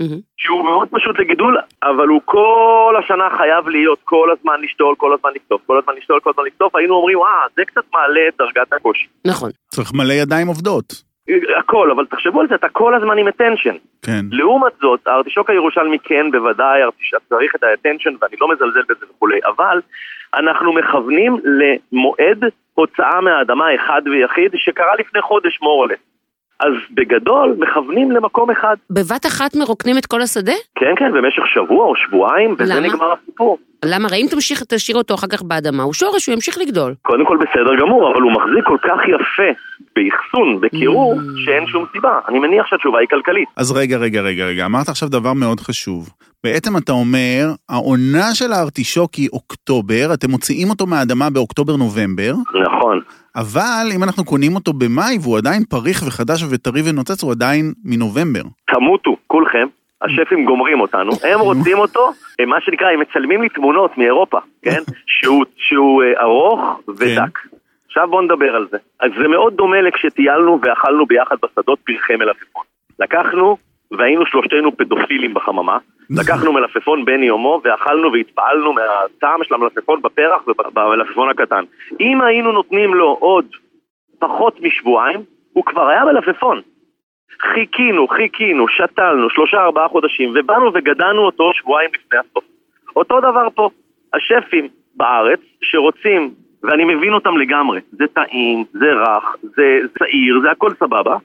[SPEAKER 3] מהמם.
[SPEAKER 4] שהוא מאוד פשוט לגידול, אבל הוא כל השנה חייב להיות, כל הזמן לשתול, כל הזמן לקטוף, כל הזמן לשתול, כל הזמן לקטוף, היינו אומרים, אה, זה קצת מעלה את דרגת הקושי.
[SPEAKER 3] נכון.
[SPEAKER 2] צריך מלא ידיים עובדות.
[SPEAKER 4] אה, הכל, אבל תחשבו על זה, אתה כל הזמן עם attention.
[SPEAKER 2] כן.
[SPEAKER 4] לעומת זאת, הארטישוק הירושלמי כן, בוודאי, הארטישוק צריך את ה-attention, ואני לא מזלזל בזה וכולי, אבל אנחנו מכוונים למועד הוצאה מהאדמה אחד ויחיד, שקרה לפני חודש מורלה. אז בגדול, מכוונים למקום אחד.
[SPEAKER 3] בבת אחת מרוקנים את כל השדה?
[SPEAKER 4] כן, כן, במשך שבוע או שבועיים, וזה
[SPEAKER 3] למה?
[SPEAKER 4] נגמר הסיפור.
[SPEAKER 3] למה? הרי אם תמשיך, תשאיר אותו אחר כך באדמה, הוא שורש, הוא ימשיך לגדול.
[SPEAKER 4] קודם כל בסדר גמור, אבל הוא מחזיק כל כך יפה באחסון, בקירור, שאין שום סיבה. אני מניח שהתשובה היא כלכלית.
[SPEAKER 2] אז רגע, רגע, רגע, רגע, אמרת עכשיו דבר מאוד חשוב. בעצם אתה אומר, העונה של הארטישוק היא אוקטובר, אתם מוציאים אותו מהאדמה באוקטובר-נובמבר,
[SPEAKER 4] נכון.
[SPEAKER 2] אבל אם אנחנו קונים אותו במאי והוא עדיין פריך וחדש וטרי ונוצץ, הוא עדיין מנובמבר.
[SPEAKER 4] תמותו, כולכם. השפים גומרים אותנו, הם רוצים אותו, הם, מה שנקרא, הם מצלמים לי תמונות מאירופה, כן? שהוא, שהוא אה, ארוך ודק. עכשיו בואו נדבר על זה. אז זה מאוד דומה לכשטיילנו ואכלנו ביחד בשדות פרחי מלפפון. לקחנו, והיינו שלושתנו פדופילים בחממה, לקחנו מלפפון בן יומו ואכלנו והתפעלנו מהטעם של המלפפון בפרח ובמלפפון הקטן. אם היינו נותנים לו עוד פחות משבועיים, הוא כבר היה מלפפון. חיכינו, חיכינו, שתלנו שלושה ארבעה חודשים ובאנו וגדענו אותו שבועיים לפני הסוף. אותו דבר פה, השפים בארץ שרוצים, ואני מבין אותם לגמרי, זה טעים, זה רך, זה צעיר, זה הכל סבבה,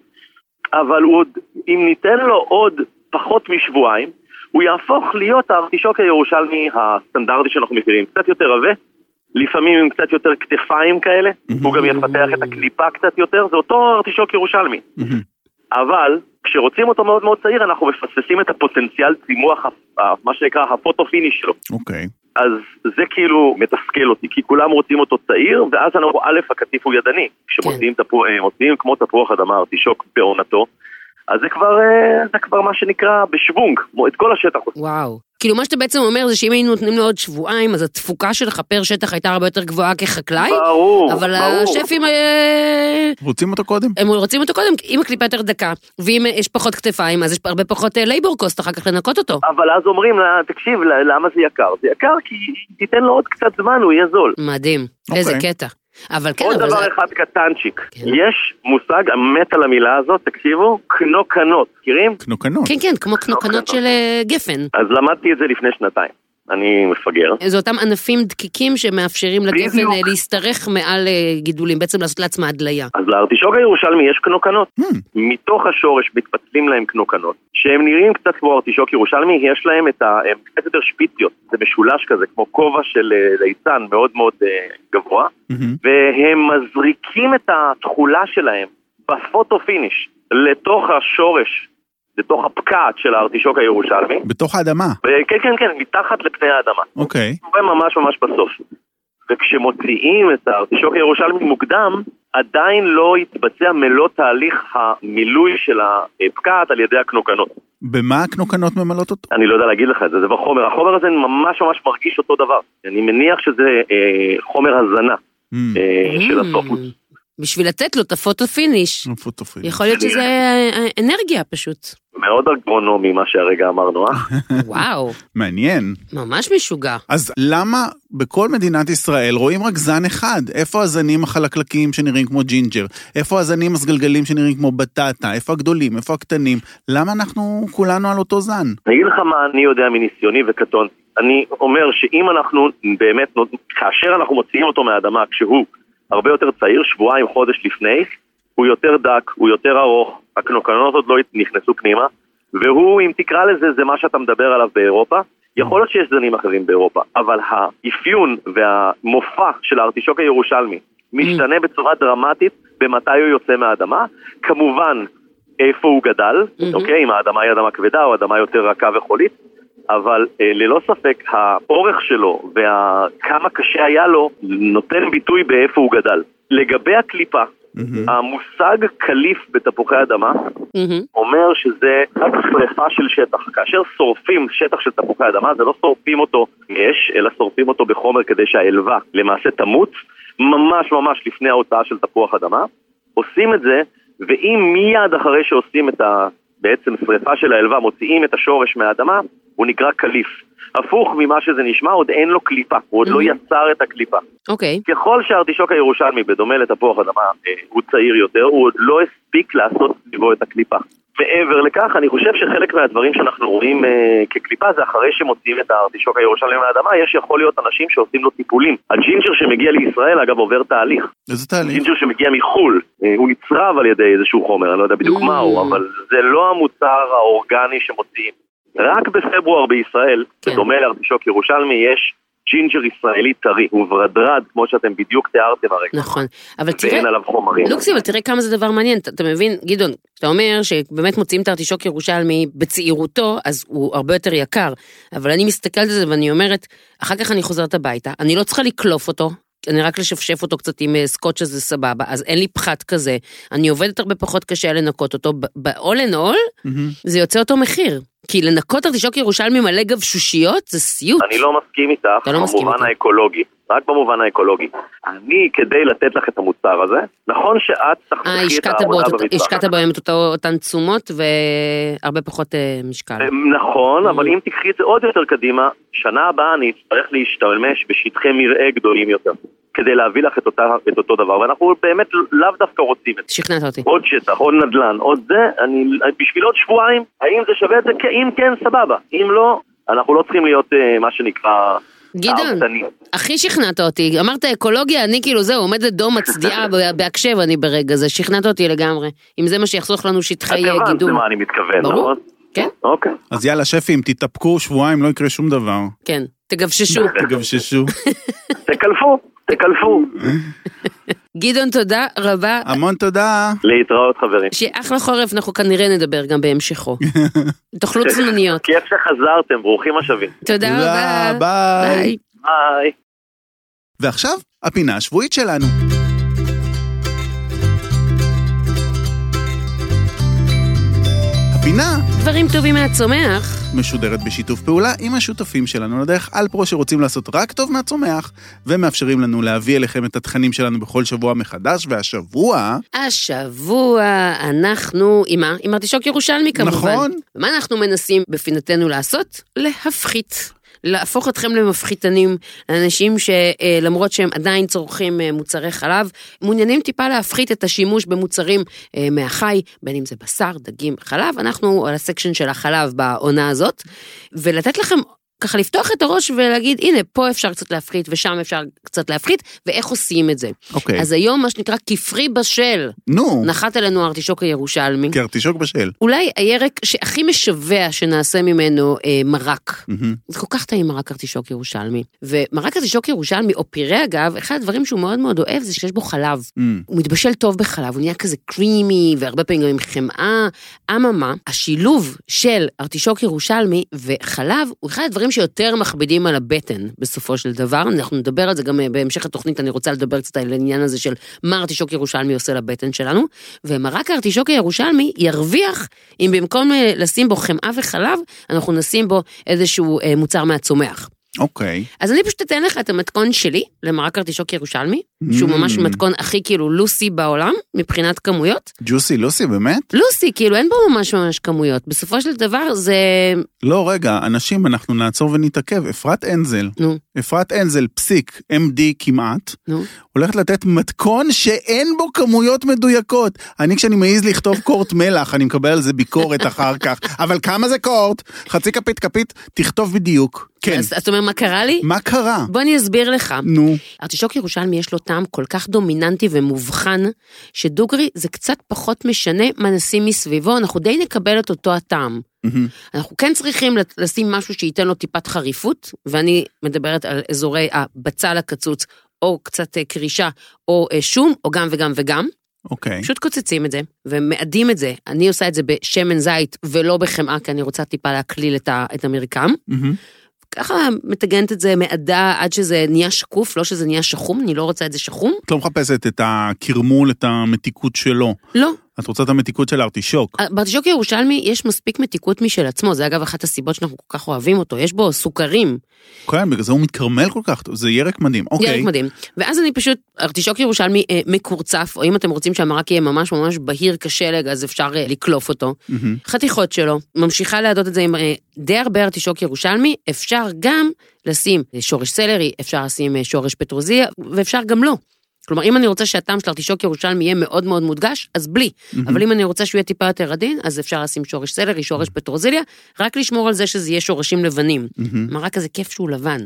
[SPEAKER 4] אבל הוא עוד, אם ניתן לו עוד פחות משבועיים, הוא יהפוך להיות הארטישוק הירושלמי הסטנדרטי שאנחנו מכירים, קצת יותר עבה, לפעמים עם קצת יותר כתפיים כאלה, הוא גם יפתח את הקליפה קצת יותר, זה אותו ארטישוק ירושלמי. אבל כשרוצים אותו מאוד מאוד צעיר, אנחנו מפספסים את הפוטנציאל צימוח, ה- ה- מה שנקרא הפוטו-פיניש שלו.
[SPEAKER 2] אוקיי.
[SPEAKER 4] אז זה כאילו מתסכל אותי, כי כולם רוצים אותו צעיר, ואז אנחנו, א', הקטיף הוא ידני. כשמוציאים
[SPEAKER 3] כן.
[SPEAKER 4] תפוח, אה, מוציאים כמו תפוח אדמה ארטישוק בעונתו, אז זה כבר, אה, זה כבר מה שנקרא בשוונג, כמו את כל השטח. עושים.
[SPEAKER 3] וואו. כאילו, מה שאתה בעצם אומר זה שאם היינו נותנים לו עוד שבועיים, אז התפוקה שלך פר שטח הייתה הרבה יותר גבוהה כחקלאי,
[SPEAKER 4] ברור,
[SPEAKER 3] אבל
[SPEAKER 4] ברור.
[SPEAKER 3] השפים, אה,
[SPEAKER 2] רוצים אותו קודם?
[SPEAKER 3] הם רוצים אותו קודם, אם הקליפה יותר דקה, ואם יש פחות כתפיים, אז יש הרבה פחות לייבור קוסט אחר כך לנקות אותו.
[SPEAKER 4] אבל אז אומרים, לה, תקשיב, ל- למה זה יקר? זה יקר כי תיתן לו עוד קצת זמן, הוא יהיה זול.
[SPEAKER 3] מדהים.
[SPEAKER 2] אוקיי.
[SPEAKER 3] איזה קטע. אבל כן,
[SPEAKER 4] עוד
[SPEAKER 3] אבל...
[SPEAKER 4] דבר
[SPEAKER 3] זה-
[SPEAKER 4] אחד קטנצ'יק.
[SPEAKER 3] כן.
[SPEAKER 4] יש מושג, המת על המילה הזאת, תקשיבו, קנוקנות, מכירים?
[SPEAKER 2] קנוקנות.
[SPEAKER 3] כן, כן, כמו
[SPEAKER 4] אוקיי,
[SPEAKER 3] קנוקנות של אה, גפן.
[SPEAKER 4] אז למדתי את זה לפני שנתיים. אני מפגר.
[SPEAKER 3] זה אותם ענפים דקיקים שמאפשרים לגפן
[SPEAKER 4] בדיוק.
[SPEAKER 3] אה, להשתרך מעל אה, גידולים, בעצם לעשות לעצמה הדליה.
[SPEAKER 4] אז לארטישוק הירושלמי יש קנוקנות.
[SPEAKER 2] Hmm,
[SPEAKER 4] מתוך השורש מתפצלים להם קנוקנות, שהם נראים קצת כמו ארטישוק ירושלמי, יש להם את ה... הם קצת יותר שפיציות, זה משולש כזה, כמו כובע של אה, ליצן מאוד מאוד אה, גבוה,
[SPEAKER 2] מהמם.
[SPEAKER 4] והם מזריקים את התכולה שלהם בפוטו פיניש לתוך השורש, לתוך הפקעת של הארטישוק הירושלמי,
[SPEAKER 2] בתוך האדמה.
[SPEAKER 4] וכן, כן, כן, מתחת לפני האדמה.
[SPEAKER 2] אוקיי.
[SPEAKER 4] קורה ממש ממש בסוף. וכשמוציאים את הארטישוק הירושלמי מוקדם, עדיין לא התבצע מלוא תהליך המילוי של הפקעת על ידי הקנוקנות.
[SPEAKER 2] במה הקנוקנות ממלאות אותו?
[SPEAKER 4] אני לא יודע להגיד לך את זה, זה בחומר. החומר הזה ממש ממש מרגיש אותו דבר. אני מניח שזה אה, חומר הזנה
[SPEAKER 2] מהמם.
[SPEAKER 4] אה, של הסופוס.
[SPEAKER 3] Mm, בשביל לתת לו את הפוטו פיניש.
[SPEAKER 2] איפה תופרים?
[SPEAKER 3] יכול להיות שזה אה, אה, אנרגיה פשוט.
[SPEAKER 4] מאוד אגרונומי מה שהרגע אמרנו, אה?
[SPEAKER 3] וואו,
[SPEAKER 2] מעניין.
[SPEAKER 3] ממש משוגע.
[SPEAKER 2] אז למה בכל מדינת ישראל רואים רק זן אחד? איפה הזנים החלקלקים שנראים כמו ג'ינג'ר? איפה הזנים הסגלגלים שנראים כמו בטטה? איפה הגדולים? איפה הקטנים? למה אנחנו כולנו על אותו זן?
[SPEAKER 4] אני אגיד לך מה אני יודע מניסיוני וקטון. אני אומר שאם אנחנו באמת, נות- כאשר אנחנו מוציאים אותו מהאדמה, כשהוא הרבה יותר צעיר, שבועיים, חודש לפני, הוא יותר דק, הוא יותר ארוך, הקנוקנות עוד לא נכנסו פנימה, והוא, אם תקרא לזה, זה מה שאתה מדבר עליו באירופה. יכול להיות שיש זנים אחרים באירופה, אבל האפיון והמופע של הארטישוק הירושלמי משתנה בצורה דרמטית במתי הוא יוצא מהאדמה. כמובן, איפה הוא גדל, אוקיי, אם האדמה היא אדמה כבדה או אדמה יותר רכה וחולית, אבל אה, ללא ספק האורך שלו וכמה קשה היה לו נותן ביטוי באיפה הוא גדל. לגבי הקליפה, המושג קליף בתפוחי אדמה
[SPEAKER 3] מהמם.
[SPEAKER 4] אומר שזה רק שרפה של שטח. כאשר שורפים שטח של תפוחי אדמה, זה לא שורפים אותו אש, אלא שורפים אותו בחומר כדי שהעלבה למעשה תמות, ממש ממש לפני ההוצאה של תפוח אדמה. עושים את זה ואם מיד אחרי שעושים את ה... בעצם שריפה של האלווה, מוציאים את השורש מהאדמה, הוא נקרא קליף. הפוך ממה שזה נשמע, עוד אין לו קליפה, הוא עוד לא יצר את הקליפה.
[SPEAKER 3] אוקיי.
[SPEAKER 4] ככל שהארטישוק הירושלמי, בדומה לתפוח אדמה, אה, הוא צעיר יותר, הוא עוד לא הספיק לעשות סביבו את הקליפה. מעבר לכך, אני חושב שחלק מהדברים שאנחנו רואים אה, כקליפה זה אחרי שמוציאים את הארטישוק הירושלמי מהאדמה, יש יכול להיות אנשים שעושים לו טיפולים. הג'ינג'ר שמגיע לישראל, אגב, עובר תהליך.
[SPEAKER 2] איזה תהליך?
[SPEAKER 4] ג'ינג'ר שמגיע מחו"ל, אה, הוא נצרב על ידי איזשהו חומר, אני לא יודע בדיוק
[SPEAKER 3] Mm.
[SPEAKER 4] מה הוא, אבל זה לא המוצר האורגני שמוציאים. רק בפברואר בישראל,
[SPEAKER 3] כן.
[SPEAKER 4] בדומה לארטישוק ירושלמי, יש ג'ינג'ר ישראלי טרי, הוא ורדרד, כמו שאתם בדיוק תיארתם הרגע,
[SPEAKER 3] נכון. אבל תראה,
[SPEAKER 4] ואין עליו חומרים.
[SPEAKER 3] לוקסי, אבל תראה כמה זה דבר מעניין, אתה, אתה מבין, גדעון, אתה אומר שבאמת מוצאים את הארטישוק ירושלמי בצעירותו, אז הוא הרבה יותר יקר. אבל אני מסתכלת על זה ואני אומרת, אחר כך אני חוזרת הביתה, אני לא צריכה לקלוף אותו. אני רק לשפשף אותו קצת עם אה, סקוץ' הזה סבבה, אז אין לי פחת כזה. אני עובדת הרבה פחות קשה לנקות אותו. ב-all in all
[SPEAKER 2] מהמם.
[SPEAKER 3] זה יוצא אותו מחיר. כי לנקות ארטישוק ירושלמי מלא גבשושיות זה סיוט.
[SPEAKER 4] אני לא מסכים איתך
[SPEAKER 3] אתה לא מסכים
[SPEAKER 4] במובן
[SPEAKER 3] איתי.
[SPEAKER 4] האקולוגי, רק במובן האקולוגי. אני, כדי לתת לך את המוצר הזה, נכון שאת
[SPEAKER 3] אה,
[SPEAKER 4] תחסכי את
[SPEAKER 3] השקעת בו
[SPEAKER 4] העבודה
[SPEAKER 3] את-
[SPEAKER 4] במטבח.
[SPEAKER 3] השקעת בהם את אותו- אותן תשומות והרבה פחות אה, משקל.
[SPEAKER 4] נכון, אבל
[SPEAKER 3] אה.
[SPEAKER 4] אם תקחי את זה עוד יותר קדימה, שנה הבאה אני אצטרך להשתמש בשטחי מרעה גדולים יותר, כדי להביא לך את, אותה, את אותו דבר, ואנחנו באמת לאו דווקא רוצים את זה.
[SPEAKER 3] שכנעת אותי.
[SPEAKER 4] עוד שטח, עוד נדל"ן, עוד זה, אני, בשביל עוד שבועיים, האם זה שווה את זה? כן, אם כן, סבבה. אם לא, אנחנו לא צריכים להיות אה, מה שנקרא...
[SPEAKER 3] גדעון,
[SPEAKER 4] הארצנים.
[SPEAKER 3] הכי שכנעת אותי. אמרת אקולוגיה, אני כאילו זהו, עומדת דום מצדיעה ב- בהקשב אני ברגע זה. שכנעת אותי לגמרי. אם זה מה שיחסוך לנו
[SPEAKER 4] את
[SPEAKER 3] שטחי אה,
[SPEAKER 4] הבנת
[SPEAKER 3] גידול.
[SPEAKER 4] למה אני מתכוון,
[SPEAKER 3] ברור.
[SPEAKER 4] נכון?
[SPEAKER 3] כן,
[SPEAKER 4] אוקיי.
[SPEAKER 2] אז יאללה, שפים, תתאפקו שבועיים, לא יקרה שום דבר.
[SPEAKER 3] כן. תגבששו.
[SPEAKER 2] תגבששו.
[SPEAKER 4] תקלפו, תקלפו.
[SPEAKER 3] גדעון, תודה רבה.
[SPEAKER 2] המון תודה.
[SPEAKER 4] להתראות חברים.
[SPEAKER 3] שיהיה אחלה חורף, אנחנו כנראה נדבר גם בהמשכו. תאכלו צנוניות.
[SPEAKER 4] כיף שחזרתם, ברוכים השבים.
[SPEAKER 3] תודה רבה.
[SPEAKER 2] ביי.
[SPEAKER 3] ביי.
[SPEAKER 4] ביי.
[SPEAKER 2] ועכשיו, הפינה השבועית שלנו. הפינה
[SPEAKER 3] דברים טובים מהצומח.
[SPEAKER 2] משודרת בשיתוף פעולה עם השותפים שלנו לדרך אלפרו שרוצים לעשות רק טוב מהצומח, ומאפשרים לנו להביא אליכם את התכנים שלנו בכל שבוע מחדש, והשבוע,
[SPEAKER 3] השבוע אנחנו עם מה? עם ארטישוק ירושלמי כמובן.
[SPEAKER 2] נכון.
[SPEAKER 3] מה אנחנו מנסים בפינתנו לעשות? להפחית. להפוך אתכם למפחיתנים, לאנשים שלמרות שהם עדיין צורכים אה, מוצרי חלב, מעוניינים טיפה להפחית את השימוש במוצרים אה, מהחי, בין אם זה בשר, דגים, חלב, אנחנו על הסקשן של החלב בעונה הזאת, ולתת לכם ככה לפתוח את הראש ולהגיד, הנה, פה אפשר קצת להפחית ושם אפשר קצת להפחית, ואיך עושים את זה.
[SPEAKER 2] אוקיי,
[SPEAKER 3] אז היום מה שנקרא כפרי בשל,
[SPEAKER 2] נו,
[SPEAKER 3] נחת עלינו הארטישוק הירושלמי.
[SPEAKER 2] כארטישוק בשל.
[SPEAKER 3] אולי הירק שהכי משווע שנעשה ממנו אה, מרק.
[SPEAKER 2] מהמם.
[SPEAKER 3] זה כל כך טעים מרק ארטישוק ירושלמי. ומרק ארטישוק ירושלמי, או פירה אגב, אחד הדברים שהוא מאוד מאוד אוהב זה שיש בו חלב.
[SPEAKER 2] מ,
[SPEAKER 3] הוא מתבשל טוב בחלב, הוא נהיה כזה קרימי, והרבה פעמים גם עם חמאה. אממה, השילוב של ארטישוק ירושלמי וחלב הוא אחד הדברים שיותר מכבידים על הבטן בסופו של דבר. אנחנו נדבר על זה גם אה, בהמשך התוכנית, אני רוצה לדבר קצת על העניין הזה של מה ארטישוק ירושלמי עושה לבטן שלנו. ומרק הארטישוק הירושלמי ירוויח אם במקום אה, לשים בו חמאה וחלב, אנחנו נשים בו איזשהו אה, מוצר מהצומח.
[SPEAKER 2] אוקיי.
[SPEAKER 3] אז אני פשוט אתן לך את המתכון שלי למרק ארטישוק ירושלמי, שהוא
[SPEAKER 2] Mm.
[SPEAKER 3] ממש מתכון הכי כאילו לוסי בעולם, מבחינת כמויות.
[SPEAKER 2] ג'וסי לוסי, באמת?
[SPEAKER 3] לוסי, כאילו אין בו ממש ממש כמויות. בסופו של דבר זה...
[SPEAKER 2] לא, רגע, אנשים, אנחנו נעצור ונתעכב. אפרת אנזל,
[SPEAKER 3] נו.
[SPEAKER 2] אפרת אנזל, פסיק, MD כמעט,
[SPEAKER 3] נו.
[SPEAKER 2] הולכת לתת מתכון שאין בו כמויות מדויקות. אני, כשאני מעז לכתוב קורט מלח, אני מקבל על זה ביקורת אחר כך. אבל כמה זה קורט? חצי כפית כפית, תכתוב בדיוק. כן.
[SPEAKER 3] אז אז אתה אומר, מה קרה לי?
[SPEAKER 2] מה קרה?
[SPEAKER 3] בוא אני אסביר לך.
[SPEAKER 2] נו,
[SPEAKER 3] ארטישוק ירושלמי יש לו טעם כל כך דומיננטי ומובחן, שדוגרי זה קצת פחות משנה מה נשים מסביבו, אנחנו די נקבל את אותו הטעם.
[SPEAKER 2] מהמם.
[SPEAKER 3] אנחנו כן צריכים לת- לשים משהו שייתן לו טיפת חריפות, ואני מדברת על אזורי הבצל הקצוץ, או קצת אה, קרישה, או אה, שום, או גם וגם וגם.
[SPEAKER 2] אוקיי.
[SPEAKER 3] פשוט קוצצים את זה, ומאדים את זה. אני עושה את זה בשמן זית ולא בחמאה, כי אני רוצה טיפה להקליל את ה- את המרקם.
[SPEAKER 2] מהמם.
[SPEAKER 3] ככה מטגנת את זה מעדה עד שזה נהיה שקוף, לא שזה נהיה שחום, אני לא רוצה את זה שחום.
[SPEAKER 2] את לא מחפשת את הקרמול, את המתיקות שלו.
[SPEAKER 3] לא,
[SPEAKER 2] את רוצה את המתיקות של הארטישוק.
[SPEAKER 3] בארטישוק ירושלמי יש מספיק מתיקות משל עצמו, זה אגב אחת הסיבות שאנחנו כל כך אוהבים אותו, יש בו סוכרים,
[SPEAKER 2] כן, בגלל זה הוא מתקרמל כל כך, זה ירק מדהים. אוקיי.
[SPEAKER 3] ירק מדהים. ואז אני פשוט, ארטישוק ירושלמי אה, מקורצף, או אם אתם רוצים שהמרק יהיה ממש ממש בהיר כשלג, אז אפשר אה, לקלוף אותו.
[SPEAKER 2] מהמם.
[SPEAKER 3] חתיכות שלו, ממשיכה להדות את זה עם אה, די הרבה ארטישוק ירושלמי, אפשר גם לשים אה, שורש סלרי, אפשר לשים אה, שורש פטרוזיליה, ואפשר גם לא. כלומר, אם אני רוצה שהטעם של ארטישוק ירושלמי יהיה מאוד מאוד מודגש, אז בלי. אבל אם אני רוצה שהוא יהיה טיפה יותר עדין, אז אפשר לשים שורש סלרי, שורש פטרוזיליה, רק לשמור על זה שזה יהיה שורשים לבנים.
[SPEAKER 2] מהמם.
[SPEAKER 3] מרק כזה כיף שהוא לבן.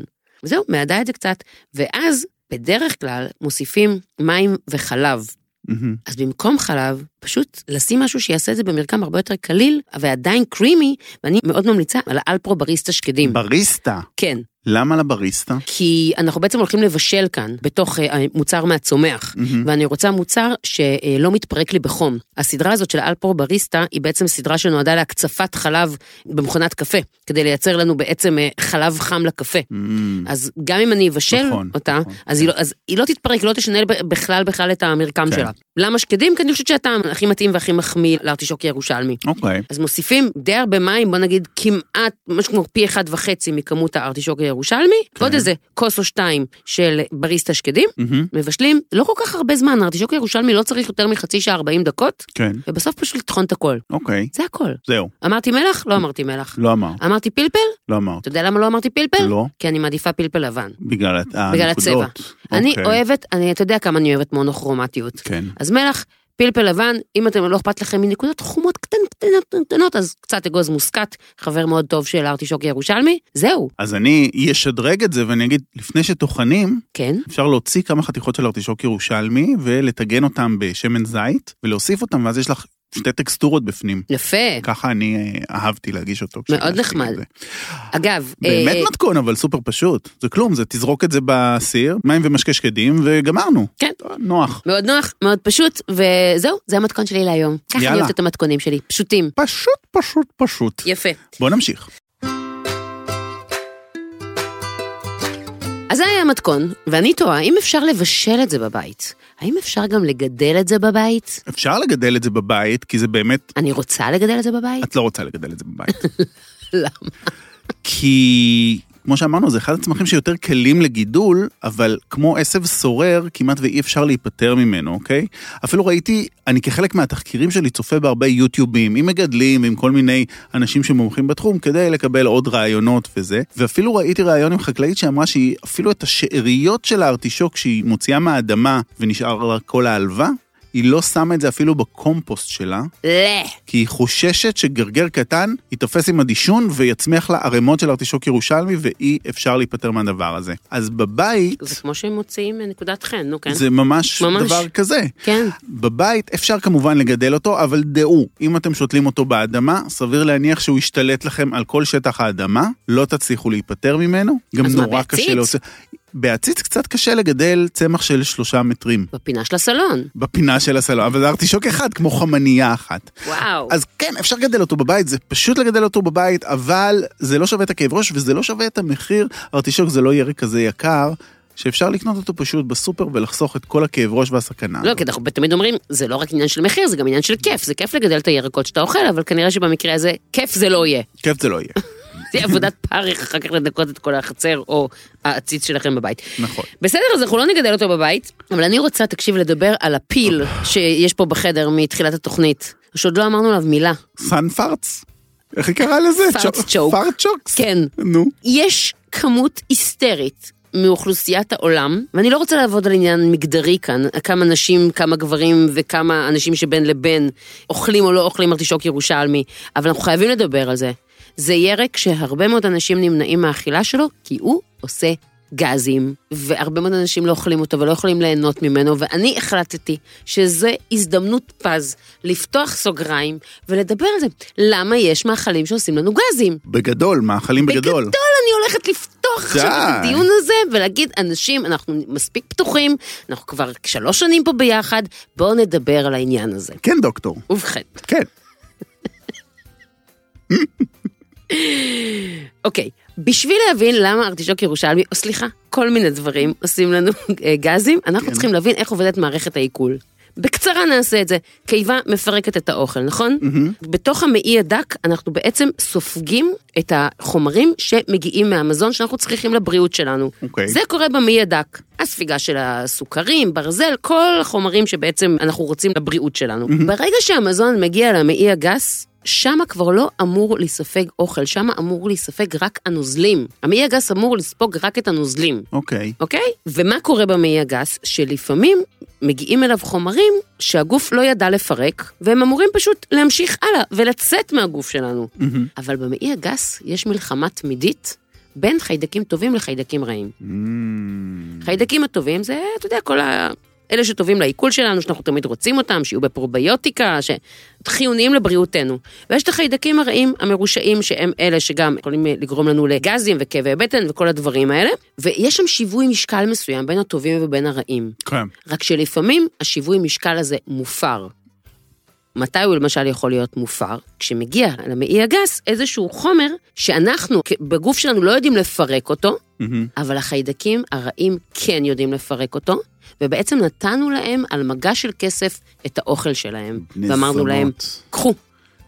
[SPEAKER 3] וזהו, מעדה את זה קצת, ואז בדרך כלל מוסיפים מים וחלב.
[SPEAKER 2] מהמם.
[SPEAKER 3] אז במקום חלב, פשוט לשים משהו שיעשה את זה במרקם הרבה יותר קליל, אבל עדיין קרימי, ואני מאוד ממליצה על האלפרו בריסטה שקדים.
[SPEAKER 2] בריסטה.
[SPEAKER 3] כן,
[SPEAKER 2] למה לבריסטה?
[SPEAKER 3] כי אנחנו בעצם הולכים לבשל כאן, בתוך אה, מוצר מהצומח,
[SPEAKER 2] מהמם.
[SPEAKER 3] ואני רוצה מוצר שלא מתפרק לי בחום. הסדרה הזאת של אלפרו בריסטה היא בעצם סדרה שנועדה להקצפת חלב במכונת קפה, כדי לייצר לנו בעצם אה, חלב חם לקפה.
[SPEAKER 2] מהמם.
[SPEAKER 3] אז גם אם אני אבשל
[SPEAKER 2] נכון,
[SPEAKER 3] אותה,
[SPEAKER 2] נכון.
[SPEAKER 3] אז, היא לא, אז היא לא תתפרק, היא לא תשנה ב- בכלל בכלל את המרקם
[SPEAKER 2] כן.
[SPEAKER 3] שלה. למה שקדים? כי אני חושבת שהטעם הכי מתאים והכי מחמיא לארטישוק ירושלמי.
[SPEAKER 2] אוקיי.
[SPEAKER 3] אז מוסיפים די הרבה מים, בוא נגיד כמעט, משהו כמו פי אחד וחצי מכמות הארטישוק הירושלמי,
[SPEAKER 2] כן.
[SPEAKER 3] ועוד איזה כוס או שתיים של בריסטה שקדים,
[SPEAKER 2] מהמם.
[SPEAKER 3] מבשלים לא כל כך הרבה זמן, הארטישוק הירושלמי לא צריך יותר מחצי שעה 40 דקות,
[SPEAKER 2] כן,
[SPEAKER 3] ובסוף פשוט לטחון את הכל.
[SPEAKER 2] אוקיי.
[SPEAKER 3] זה הכל.
[SPEAKER 2] זהו.
[SPEAKER 3] אמרתי מלח? לא אמרתי מלח.
[SPEAKER 2] לא אמרת,
[SPEAKER 3] אמרתי פלפל?
[SPEAKER 2] לא אמרת.
[SPEAKER 3] אתה יודע למה לא אמרתי פלפל?
[SPEAKER 2] לא.
[SPEAKER 3] כי אני מעדיפה פלפל לבן.
[SPEAKER 2] בגלל הת-
[SPEAKER 3] בגלל הצבע.
[SPEAKER 2] הנקודות.
[SPEAKER 3] אני
[SPEAKER 2] אוקיי.
[SPEAKER 3] אוהבת, אני, אתה יודע כמה אני אוהבת מונוכרומטיות.
[SPEAKER 2] כן.
[SPEAKER 3] אז מלח, פלפל לבן, אם אתם לא אכפת לכם מנקודות חומות קטנות- קטנות, קטנות, אז קצת אגוז מוסקת, חבר מאוד טוב של הארטישוק הירושלמי, זהו,
[SPEAKER 2] אז אני אשדרג את זה ואני אגיד, לפני שטוחנים,
[SPEAKER 3] כן.
[SPEAKER 2] אפשר להוציא כמה חתיכות של ארטישוק ירושלמי ולטגן אותם בשמן זית ולהוסיף אותם, ואז יש לך שתי טקסטורות בפנים.
[SPEAKER 3] יפה.
[SPEAKER 2] ככה אני אה, אהבתי להגיש אותו.
[SPEAKER 3] מאוד
[SPEAKER 2] כשהגשתי
[SPEAKER 3] נחמד.
[SPEAKER 2] את זה.
[SPEAKER 3] אגב,
[SPEAKER 2] באמת
[SPEAKER 3] אה,
[SPEAKER 2] מתכון, אבל סופר פשוט. זה כלום, זה תזרוק את זה בסיר, מים ומשקה שקדים, וגמרנו.
[SPEAKER 3] כן.
[SPEAKER 2] טוב, נוח.
[SPEAKER 3] מאוד נוח, מאוד פשוט, וזהו, זה המתכון שלי להיום. ככה אני
[SPEAKER 2] יאללה.
[SPEAKER 3] אוהבת את המתכונים שלי, פשוטים.
[SPEAKER 2] פשוט, פשוט, פשוט.
[SPEAKER 3] יפה.
[SPEAKER 2] בוא נמשיך.
[SPEAKER 3] אז זה היה המתכון, ואני תוהה, האם אפשר לבשל את זה בבית? האם אפשר גם לגדל את זה בבית?
[SPEAKER 2] אפשר לגדל את זה בבית, כי זה באמת,
[SPEAKER 3] אני רוצה לגדל את זה בבית?
[SPEAKER 2] את לא רוצה לגדל את זה בבית.
[SPEAKER 3] למה?
[SPEAKER 2] כי, כמו שאמרנו, זה אחד הצמחים שיותר קלים לגידול, אבל כמו עשב סורר, כמעט ואי אפשר להיפטר ממנו, אוקיי? אפילו ראיתי, אני כחלק מהתחקירים שלי צופה בהרבה יוטיובים, עם מגדלים ועם כל מיני אנשים שמומחים בתחום, כדי לקבל עוד רעיונות וזה. ואפילו ראיתי ראיון עם חקלאית שאמרה שהיא, אפילו את השאריות של הארטישוק שהיא מוציאה מהאדמה ונשאר לה כל העלווה, היא לא שמה את זה אפילו בקומפוסט שלה,
[SPEAKER 3] לא.
[SPEAKER 2] כי היא חוששת שגרגר קטן ייתפס עם הדישון ויצמיח לה ערימות של ארטישוק ירושלמי ואי אפשר להיפטר מהדבר הזה. אז בבית
[SPEAKER 3] לא. זה כמו שהם מוציאים נקודת חן, נו כן.
[SPEAKER 2] זה ממש,
[SPEAKER 3] ממש.
[SPEAKER 2] דבר כזה.
[SPEAKER 3] כן.
[SPEAKER 2] בבית אפשר כמובן לגדל אותו, אבל דעו, אם אתם שותלים אותו באדמה, סביר להניח שהוא ישתלט לכם על כל שטח האדמה, לא תצליחו להיפטר ממנו. גם
[SPEAKER 3] אז מה,
[SPEAKER 2] נורא
[SPEAKER 3] בעציץ?
[SPEAKER 2] קשה להוציא... בעציץ קצת קשה לגדל צמח של שלושה מטרים.
[SPEAKER 3] בפינה של הסלון.
[SPEAKER 2] בפינה של הסלון, אבל זה ארטישוק אחד כמו חמנייה אחת.
[SPEAKER 3] וואו.
[SPEAKER 2] אז כן, אפשר לגדל אותו בבית, זה פשוט לגדל אותו בבית, אבל זה לא שווה את הכאב ראש וזה לא שווה את המחיר. ארטישוק זה לא ירק כזה יקר, שאפשר לקנות אותו פשוט בסופר ולחסוך את כל הכאב ראש והסכנה.
[SPEAKER 3] לא, כי אנחנו תמיד אומרים, זה לא רק עניין של מחיר, זה גם עניין של כיף. זה כיף לגדל את הירקות שאתה אוכל, אבל כנראה שבמקרה הזה, כיף זה לא יהיה.
[SPEAKER 2] כיף זה לא יהיה,
[SPEAKER 3] זה עבודת פרך אחר כך לנקות את כל החצר או העציץ שלכם בבית.
[SPEAKER 2] נכון.
[SPEAKER 3] בסדר, אז אנחנו לא נגדל אותו בבית, אבל אני רוצה, תקשיב, לדבר על הפיל שיש פה בחדר מתחילת התוכנית, שעוד לא אמרנו עליו מילה.
[SPEAKER 2] סאן פארץ? איך היא קראה לזה?
[SPEAKER 3] פארץ
[SPEAKER 2] צ'וק-
[SPEAKER 3] צ'וק.
[SPEAKER 2] פארץ צ'וקס?
[SPEAKER 3] כן.
[SPEAKER 2] נו.
[SPEAKER 3] יש כמות היסטרית מאוכלוסיית העולם, ואני לא רוצה לעבוד על עניין מגדרי כאן, כמה נשים, כמה גברים וכמה אנשים שבין לבין אוכלים או לא אוכלים ארטישוק ירושלמי, אבל אנחנו חייבים לדבר על זה. זה ירק שהרבה מאוד אנשים נמנעים מהאכילה שלו, כי הוא עושה גזים, והרבה מאוד אנשים לא אוכלים אותו ולא יכולים ליהנות ממנו, ואני החלטתי שזו הזדמנות פז לפתוח סוגריים ולדבר על זה. למה יש מאכלים שעושים לנו גזים?
[SPEAKER 2] בגדול, מאכלים בגדול.
[SPEAKER 3] בגדול אני הולכת לפתוח עכשיו את
[SPEAKER 2] די.
[SPEAKER 3] הדיון הזה ולהגיד, אנשים, אנחנו מספיק פתוחים, אנחנו כבר שלוש שנים פה ביחד, בואו נדבר על העניין הזה.
[SPEAKER 2] כן, דוקטור.
[SPEAKER 3] ובכן,
[SPEAKER 2] כן.
[SPEAKER 3] אוקיי, בשביל להבין למה ארטישוק ירושלמי, או אה,
[SPEAKER 2] כן.
[SPEAKER 3] סליחה, כל מיני דברים עושים לנו גזים, אנחנו צריכים להבין איך עובדת מערכת העיכול. בקצרה נעשה את זה. קיבה מפרקת את האוכל, נכון? בתוך המעי הדק אנחנו בעצם סופגים את החומרים שמגיעים מהמזון שאנחנו צריכים לבריאות שלנו.
[SPEAKER 2] אוקיי.
[SPEAKER 3] זה קורה במעי הדק. הספיגה של הסוכרים, ברזל, כל החומרים שבעצם אנחנו רוצים לבריאות שלנו. ברגע שהמזון מגיע למעי הגס, שם כבר לא אמור להיספג אוכל, שם אמור להיספג רק הנוזלים. המעי הגס אמור לספוג רק את הנוזלים.
[SPEAKER 2] אוקיי.
[SPEAKER 3] אוקיי? ומה קורה במעי הגס? שלפעמים מגיעים אליו חומרים שהגוף לא ידע לפרק, והם אמורים פשוט להמשיך הלאה ולצאת מהגוף שלנו.
[SPEAKER 2] מהמם.
[SPEAKER 3] אבל במעי הגס יש מלחמה תמידית בין חיידקים טובים לחיידקים רעים.
[SPEAKER 2] אמ,
[SPEAKER 3] חיידקים הטובים זה, אתה יודע, כל ה... אלה שטובים לעיכול שלנו, שאנחנו תמיד רוצים אותם, שיהיו בפרוביוטיקה, שחיוניים לבריאותנו. ויש את החיידקים הרעים המרושעים, שהם אלה שגם יכולים אה, לגרום לנו לגזים וכאבי בטן וכל הדברים האלה. ויש שם שיווי משקל מסוים בין הטובים ובין הרעים.
[SPEAKER 2] כן.
[SPEAKER 3] רק שלפעמים השיווי משקל הזה מופר. מתי הוא למשל יכול להיות מופר? כשמגיע למעי הגס איזשהו חומר שאנחנו כ- בגוף שלנו לא יודעים לפרק אותו,
[SPEAKER 2] מהמם.
[SPEAKER 3] אבל החיידקים הרעים כן יודעים לפרק אותו, ובעצם נתנו להם על מגע של כסף את האוכל שלהם.
[SPEAKER 2] בני
[SPEAKER 3] ואמרנו
[SPEAKER 2] זונות.
[SPEAKER 3] להם, קחו,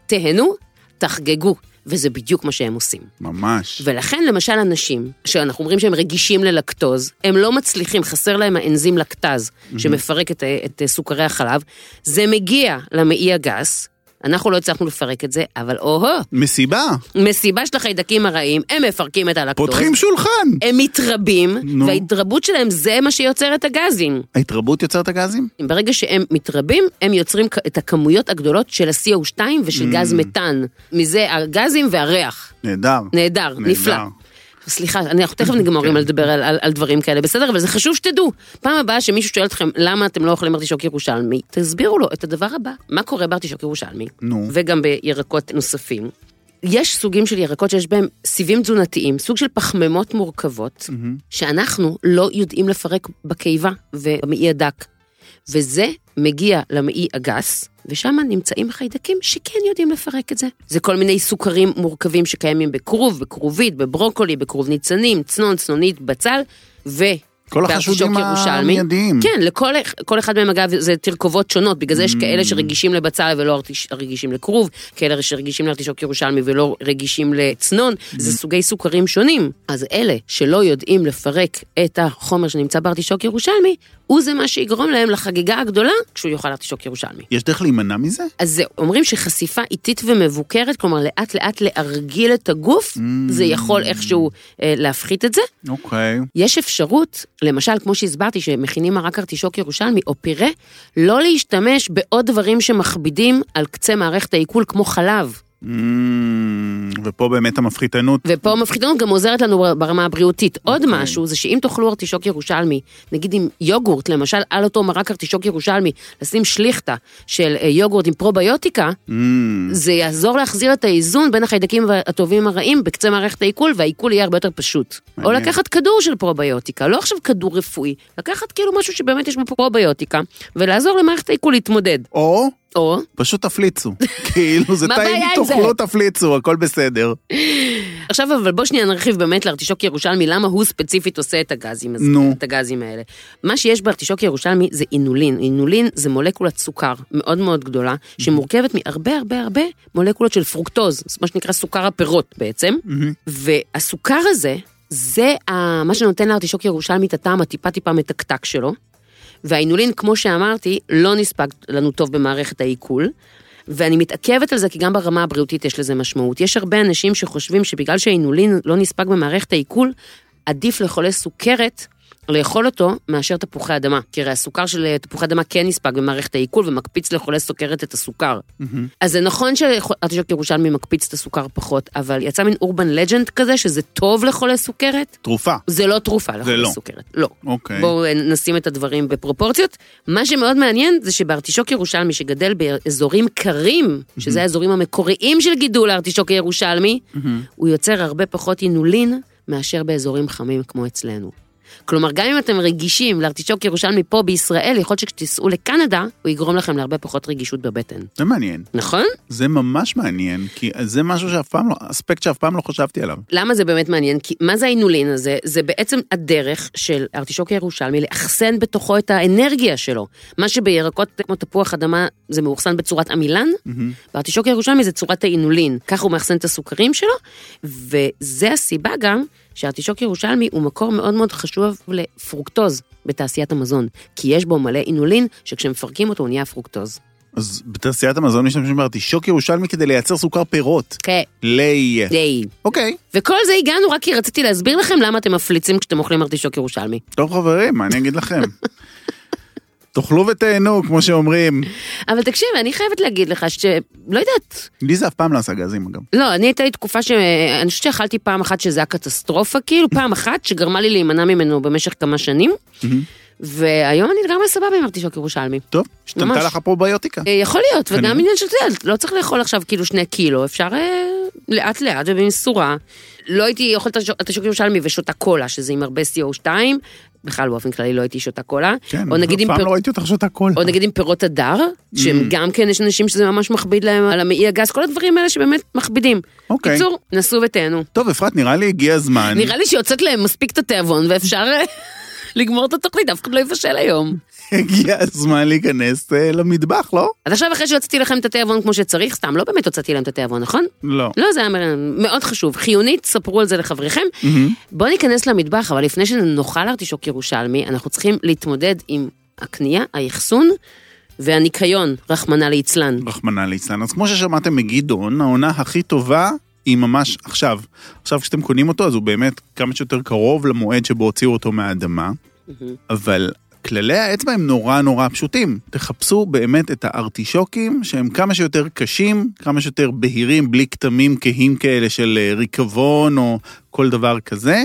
[SPEAKER 3] תהנו, תחגגו, וזה בדיוק מה שהם עושים.
[SPEAKER 2] ממש.
[SPEAKER 3] ולכן למשל אנשים, שאנחנו אומרים שהם רגישים ללקטוז, הם לא מצליחים, חסר להם האנזים לקטז, שמפרק את, ה- את אה, סוכרי החלב, זה מגיע למעי הגס, אנחנו לא הצלחנו לפרק את זה, אבל או-הו,
[SPEAKER 2] מסיבה.
[SPEAKER 3] מסיבה של החיידקים הרעים, הם מפרקים את הלקטוז.
[SPEAKER 2] פותחים שולחן.
[SPEAKER 3] הם מתרבים,
[SPEAKER 2] נו.
[SPEAKER 3] וההתרבות שלהם זה מה שיוצר את הגזים.
[SPEAKER 2] ההתרבות יוצרת הגזים?
[SPEAKER 3] ברגע שהם מתרבים, הם יוצרים כ- את הכמויות הגדולות של ה-CO2
[SPEAKER 2] Mm.
[SPEAKER 3] ושל גז מתאן. מזה הגזים והריח.
[SPEAKER 2] נהדר.
[SPEAKER 3] נהדר,
[SPEAKER 2] נהדר.
[SPEAKER 3] נפלא. סליחה, אני- אנחנו תכף נגמרים על לדבר על, על, על דברים כאלה, בסדר? אבל זה חשוב שתדעו. פעם הבאה שמישהו שואל אתכם למה אתם לא אוכלים ארטישוק ירושלמי, תסבירו לו את הדבר הבא. מה קורה בארטישוק ירושלמי?
[SPEAKER 2] נו.
[SPEAKER 3] וגם בירקות נוספים. יש סוגים של ירקות שיש בהם סיבים תזונתיים, סוג של פחמימות מורכבות, שאנחנו לא יודעים לפרק בקיבה ובמעי הדק. וזה מגיע למעי הגס, ושם נמצאים חיידקים שכן יודעים לפרק את זה. זה כל מיני סוכרים מורכבים שקיימים בכרוב, בכרובית, בברוקולי, בכרוב ניצנים, צנון, צנונית, בצל, ו...
[SPEAKER 2] כל החשודים
[SPEAKER 3] בארטישוק ירושלמי.
[SPEAKER 2] המיידיים.
[SPEAKER 3] כן, לכל כל אחד מהם אגב זה תרכובות שונות, בגלל זה יש כאלה שרגישים לבצל ולא ארטיש- רגישים לכרוב, כאלה שרגישים לארטישוק ירושלמי ולא רגישים לצנון, זה סוגי סוכרים שונים. אז אלה שלא יודעים לפרק את החומר שנמצא בארטישוק ירושלמי, הוא זה מה שיגרום להם לחגיגה הגדולה כשהוא יאכל ארטישוק ירושלמי.
[SPEAKER 2] יש דרך להימנע מזה?
[SPEAKER 3] אז זהו, אומרים שחשיפה איטית ומבוקרת, כלומר לאט לאט להרגיל את הגוף, זה יכול איכשהו אה, להפחית את זה.
[SPEAKER 2] אוקיי.
[SPEAKER 3] יש אפשרות, למשל, כמו שהסברתי, שמכינים רק ארטישוק ירושלמי או פירה, לא להשתמש בעוד דברים שמכבידים על קצה מערכת העיכול, כמו חלב.
[SPEAKER 2] אמ, Mm, ופה באמת המפחיתנות.
[SPEAKER 3] ופה המפחידנות גם עוזרת לנו ברמה הבריאותית. עוד משהו, זה שאם תאכלו ארטישוק ירושלמי, נגיד עם יוגורט, למשל, על אותו מרק ארטישוק ירושלמי, לשים שליכטה של אה, יוגורט עם פרוביוטיקה,
[SPEAKER 2] אמ,
[SPEAKER 3] זה יעזור להחזיר את האיזון בין החיידקים הטובים הרעים בקצה מערכת העיכול, והעיכול יהיה הרבה יותר פשוט. או
[SPEAKER 2] מעניין.
[SPEAKER 3] לקחת כדור של פרוביוטיקה, לא עכשיו כדור רפואי, לקחת כאילו משהו שבאמת יש בו פרוביוטיקה, ולעזור למערכת העיכול להתמודד.
[SPEAKER 2] או
[SPEAKER 3] או,
[SPEAKER 2] פשוט תפליצו. כאילו, זה
[SPEAKER 3] מה
[SPEAKER 2] טעים,
[SPEAKER 3] הבעיה עם זה?
[SPEAKER 2] תאכלו, תפליצו, הכל בסדר.
[SPEAKER 3] עכשיו אבל בוא שנייה נרחיב באמת לארטישוק ירושלמי, למה הוא ספציפית עושה את הגזים, הזה,
[SPEAKER 2] נו.
[SPEAKER 3] את הגזים האלה. מה שיש בארטישוק ירושלמי זה אינולין. אינולין זה מולקולת סוכר מאוד מאוד גדולה, שמורכבת מהרבה הרבה הרבה מולקולות של פרוקטוז, זה מה שנקרא סוכר הפירות בעצם. והסוכר הזה, זה ה- מה שנותן לארטישוק ירושלמי את הטעם הטיפה טיפה מתקתק שלו. והאינולין, כמו שאמרתי, לא נספג לנו טוב במערכת העיכול. ואני מתעכבת על זה כי גם ברמה הבריאותית יש לזה משמעות. יש הרבה אנשים שחושבים שבגלל שהאינולין לא נספג במערכת העיכול, עדיף לחולה סוכרת לאכול אותו מאשר תפוחי אדמה. כי הרי הסוכר של אה, תפוחי אדמה כן נספג במערכת העיכול ומקפיץ לחולה סוכרת את הסוכר. אז זה נכון שארטישוק ירושלמי מקפיץ את הסוכר פחות, אבל יצא מין אורבן לג'נד כזה שזה טוב לחולה סוכרת?
[SPEAKER 2] תרופה.
[SPEAKER 3] זה לא תרופה לחולה
[SPEAKER 2] לא.
[SPEAKER 3] סוכרת. לא.
[SPEAKER 2] אוקיי.
[SPEAKER 3] בואו אה, נשים את הדברים בפרופורציות. מה שמאוד מעניין זה שבארטישוק ירושלמי שגדל באזורים קרים, שזה האזורים המקוריים של גידול הארטישוק הירושלמי, הוא יוצר הרבה פחות אינולין מאשר באזורים חמים כמו אצלנו. כלומר, גם אם אתם רגישים לארטישוק ירושלמי פה בישראל, יכול להיות שכשתיסעו לקנדה, הוא יגרום לכם להרבה פחות רגישות בבטן.
[SPEAKER 2] זה מעניין.
[SPEAKER 3] נכון?
[SPEAKER 2] זה ממש מעניין, כי זה משהו שאף פעם לא, אספקט שאף פעם לא חשבתי עליו.
[SPEAKER 3] למה זה באמת מעניין? כי מה זה האינולין הזה? זה בעצם הדרך של ארטישוק הירושלמי לאחסן בתוכו את האנרגיה שלו. מה שבירקות כמו תפוח אדמה זה מאוחסן בצורת עמילן, בארטישוק הירושלמי זה צורת האינולין. ככה הוא מאחסן את הסוכרים שלו, וזה הסיבה גם שהארטישוק ירושלמי הוא מקור מאוד מאוד חשוב לפרוקטוז בתעשיית המזון. כי יש בו מלא אינולין, שכשמפרקים אותו הוא נהיה פרוקטוז.
[SPEAKER 2] אז בתעשיית המזון משתמשים בארטישוק ירושלמי כדי לייצר סוכר פירות.
[SPEAKER 3] כן.
[SPEAKER 2] לי.
[SPEAKER 3] די.
[SPEAKER 2] אוקיי.
[SPEAKER 3] וכל זה הגענו רק כי רציתי להסביר לכם למה אתם מפליצים כשאתם אוכלים ארטישוק ירושלמי.
[SPEAKER 2] טוב חברים, מה אני אגיד לכם? תאכלו ותהנו, כמו שאומרים.
[SPEAKER 3] אבל תקשיב, אני חייבת להגיד לך שלא יודעת,
[SPEAKER 2] לי זה אף פעם לא עשה גזים, אגב.
[SPEAKER 3] לא, אני הייתה לי תקופה ש... אני חושבת שאכלתי פעם אחת שזה היה קטסטרופה, כאילו פעם אחת שגרמה לי להימנע ממנו במשך כמה שנים, והיום אני לגמרי סבבה עם ארטישוק ירושלמי.
[SPEAKER 2] טוב, השתנתה
[SPEAKER 3] ממש.
[SPEAKER 2] לך הפרוביוטיקה.
[SPEAKER 3] אה, יכול להיות,
[SPEAKER 2] כנראה.
[SPEAKER 3] וגם עניין של, אתה יודע, לא צריך לאכול עכשיו כאילו שני קילו, אפשר אה, לאט לאט ובמשורה. לא הייתי אוכלת את השוק ירושלמי ושותה קולה, שזה עם הרבה CO2, בכלל באופן כללי לא הייתי שותה קולה.
[SPEAKER 2] כן,
[SPEAKER 3] או נגיד עם
[SPEAKER 2] אף
[SPEAKER 3] פר-
[SPEAKER 2] פעם לא ראיתי אותך שותה קול.
[SPEAKER 3] או נגיד עם פירות הדר, שהם גם כן, יש אנשים שזה ממש מכביד להם על המעי הגס, כל הדברים האלה שבאמת מכבידים.
[SPEAKER 2] אוקיי.
[SPEAKER 3] קיצור, נסו ותהנו.
[SPEAKER 2] טוב, אפרת, נראה לי הגיע הזמן.
[SPEAKER 3] נראה לי שיוצאת להם מספיק את התיאבון, ואפשר אה, לגמור את התוכנית, אף אחד לא יבשל היום.
[SPEAKER 2] הגיע הזמן להיכנס אה, למטבח, לא?
[SPEAKER 3] אז עכשיו אחרי שהוצאתי לכם את התיאבון כמו שצריך, סתם, לא באמת הוצאתי להם את התיאבון, נכון?
[SPEAKER 2] לא.
[SPEAKER 3] לא, זה היה מ- מאוד חשוב. חיונית, ספרו על זה לחבריכם. בואו ניכנס למטבח, אבל לפני שנאכל ארטישוק ירושלמי, אנחנו צריכים להתמודד עם הקנייה, האחסון והניקיון, רחמנא ליצלן.
[SPEAKER 2] רחמנא ליצלן. אז כמו ששמעתם מגדעון, העונה הכי טובה היא ממש עכשיו. עכשיו כשאתם קונים אותו, אז הוא באמת כמה שיותר קרוב למועד שבו הוציאו אותו מהאדמה, אבל... כללי האצבע הם נורא נורא פשוטים. תחפשו באמת את הארטישוקים שהם כמה שיותר קשים, כמה שיותר בהירים, בלי כתמים כהים כאלה של אה, ריקבון או כל דבר כזה.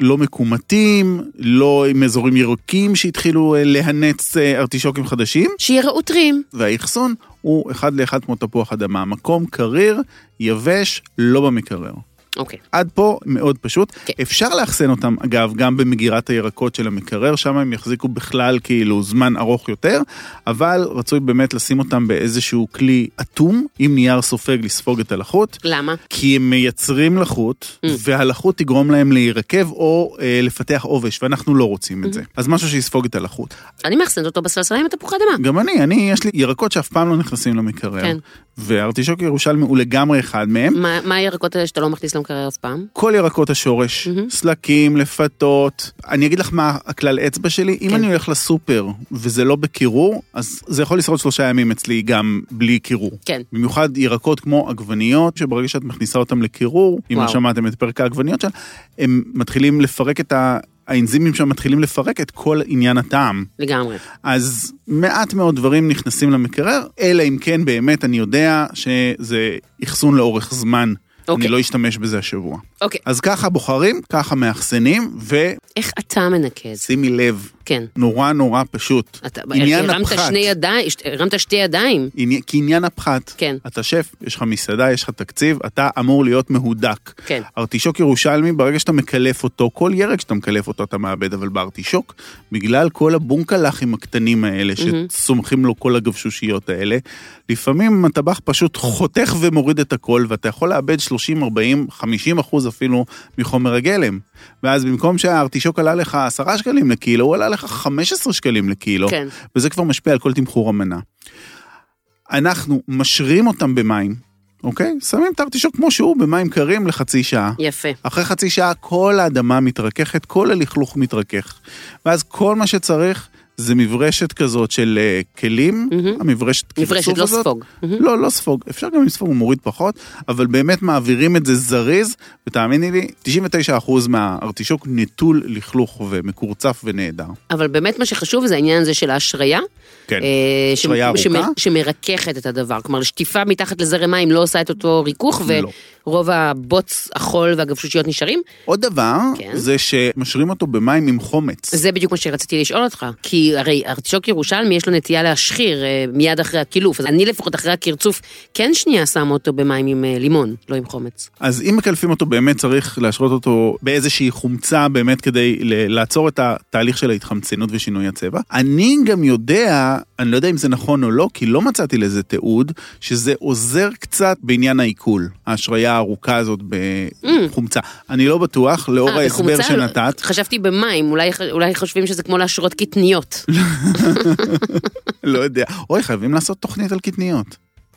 [SPEAKER 2] לא מקומטים, לא עם אזורים ירוקים שהתחילו אה, להנץ אה, ארטישוקים חדשים.
[SPEAKER 3] שיראו טריים.
[SPEAKER 2] והאחסון הוא אחד לאחד כמו תפוח אדמה. מקום קריר, יבש, לא במקרר.
[SPEAKER 3] אוקיי.
[SPEAKER 2] עד פה מאוד פשוט.
[SPEAKER 3] כן.
[SPEAKER 2] אפשר לאחסן אותם, אגב, גם במגירת הירקות של המקרר, שם הם יחזיקו בכלל כאילו זמן ארוך יותר, אבל רצוי באמת לשים אותם באיזשהו כלי אטום, עם נייר סופג לספוג את הלחות.
[SPEAKER 3] למה?
[SPEAKER 2] כי הם מייצרים לחות, והלחות תגרום להם להירקב או אה, לפתח עובש, ואנחנו לא רוצים את זה. אז משהו שיספוג את הלחות.
[SPEAKER 3] אני מאחסנת אותו בסלסלה עם תפוחי אדמה.
[SPEAKER 2] גם אני, אני, יש לי ירקות שאף פעם לא נכנסים למקרר.
[SPEAKER 3] כן. Mm-hmm.
[SPEAKER 2] והארטישוק ירושלמי הוא לגמרי אחד מהם.
[SPEAKER 3] מה- מה הירקות האלה שאתה לא מכניס למקרר אף פעם?
[SPEAKER 2] כל ירקות השורש,
[SPEAKER 3] Mm-hmm.
[SPEAKER 2] סלקים, לפתות. אני אגיד לך מה הכלל אצבע שלי,
[SPEAKER 3] כן.
[SPEAKER 2] אם אני הולך לסופר וזה לא בקירור, אז זה יכול לשרוד שלושה ימים אצלי גם בלי קירור.
[SPEAKER 3] כן.
[SPEAKER 2] במיוחד ירקות כמו עגבניות, שברגע שאת מכניסה אותם לקירור, אם לא
[SPEAKER 3] וואו.
[SPEAKER 2] שמעתם את פרק העגבניות שלה, הם מתחילים לפרק את ה... האנזימים שם מתחילים לפרק את כל עניין הטעם.
[SPEAKER 3] לגמרי.
[SPEAKER 2] אז מעט מאוד דברים נכנסים למקרר, אלא אם כן באמת אני יודע שזה אחסון לאורך זמן.
[SPEAKER 3] אוקיי.
[SPEAKER 2] אני לא אשתמש בזה השבוע.
[SPEAKER 3] אוקיי.
[SPEAKER 2] אז ככה בוחרים, ככה מאחסנים, ושימי
[SPEAKER 3] איך אתה מנקז?
[SPEAKER 2] לב,
[SPEAKER 3] כן.
[SPEAKER 2] נורא נורא פשוט.
[SPEAKER 3] אתה
[SPEAKER 2] עניין
[SPEAKER 3] הרמת
[SPEAKER 2] הפחת.
[SPEAKER 3] שני ידיים, הרמת שתי ידיים.
[SPEAKER 2] עני... כי עניין הפחת,
[SPEAKER 3] כן.
[SPEAKER 2] אתה שף, יש לך מסעדה, יש לך תקציב, אתה אמור להיות מהודק.
[SPEAKER 3] כן.
[SPEAKER 2] ארטישוק ירושלמי, ברגע שאתה מקלף אותו, כל ירק שאתה מקלף אותו אתה מאבד, אבל בארטישוק, בגלל כל הבונקלחים הקטנים האלה, שצומחים לו כל הגבשושיות האלה, לפעמים הטבח פשוט חותך ומוריד את הכל, ואתה יכול לאבד 30, 40, 50 אחוז אפילו מחומר הגלם. ואז במקום שהארטישוק עלה לך 10 שקלים לקילו, הוא עלה לך 15 שקלים לקילו.
[SPEAKER 3] כן.
[SPEAKER 2] וזה כבר משפיע על כל תמחור המנה. אנחנו משרים אותם במים, אוקיי? שמים את הארטישוק כמו שהוא במים קרים לחצי שעה.
[SPEAKER 3] יפה.
[SPEAKER 2] אחרי חצי שעה כל האדמה מתרככת, כל הלכלוך מתרכך. ואז כל מה שצריך זה מברשת כזאת של אה, כלים, המברשת
[SPEAKER 3] מברשת,
[SPEAKER 2] כרצוף
[SPEAKER 3] לא
[SPEAKER 2] הזאת.
[SPEAKER 3] ספוג.
[SPEAKER 2] לא, לא ספוג. אפשר גם לספוג, הוא מוריד פחות, אבל באמת מעבירים את זה זריז, ותאמיני לי, 99% מהארטישוק נטול לכלוך ומקורצף ונהדר.
[SPEAKER 3] אבל באמת מה שחשוב זה העניין הזה של ההשריה.
[SPEAKER 2] כן.
[SPEAKER 3] אה, ש-
[SPEAKER 2] השריה
[SPEAKER 3] שמ-
[SPEAKER 2] ארוכה?
[SPEAKER 3] שמרככת את הדבר. כלומר, שטיפה מתחת לזרם מים לא עושה את אותו ריכוך,
[SPEAKER 2] לא.
[SPEAKER 3] ורוב הבוץ, החול והגבשושיות נשארים.
[SPEAKER 2] עוד דבר,
[SPEAKER 3] כן.
[SPEAKER 2] זה שמשרים אותו במים עם חומץ.
[SPEAKER 3] זה בדיוק מה שרציתי לשאול אותך. כי כי הרי ארטישוק ירושלמי יש לו נטייה להשחיר אה, מיד אחרי הקילוף, אז אני לפחות אחרי הקרצוף כן שנייה שמה אותו במים עם אה, לימון, לא עם חומץ.
[SPEAKER 2] אז אם מקלפים אותו באמת צריך להשרות אותו באיזושהי חומצה באמת כדי ל- לעצור את התהליך של ההתחמצנות ושינוי הצבע. אני גם יודע, אני לא יודע אם זה נכון או לא, כי לא מצאתי לזה תיעוד, שזה עוזר קצת בעניין העיכול, ההשריה הארוכה הזאת בחומצה. אני לא בטוח, לאור
[SPEAKER 3] אה,
[SPEAKER 2] ההסבר
[SPEAKER 3] בחומצה?
[SPEAKER 2] שנתת.
[SPEAKER 3] חשבתי במים, אולי, ח- אולי חושבים שזה כמו להשרות קטניות.
[SPEAKER 2] לא יודע. אוי, חייבים לעשות תוכנית על קטניות.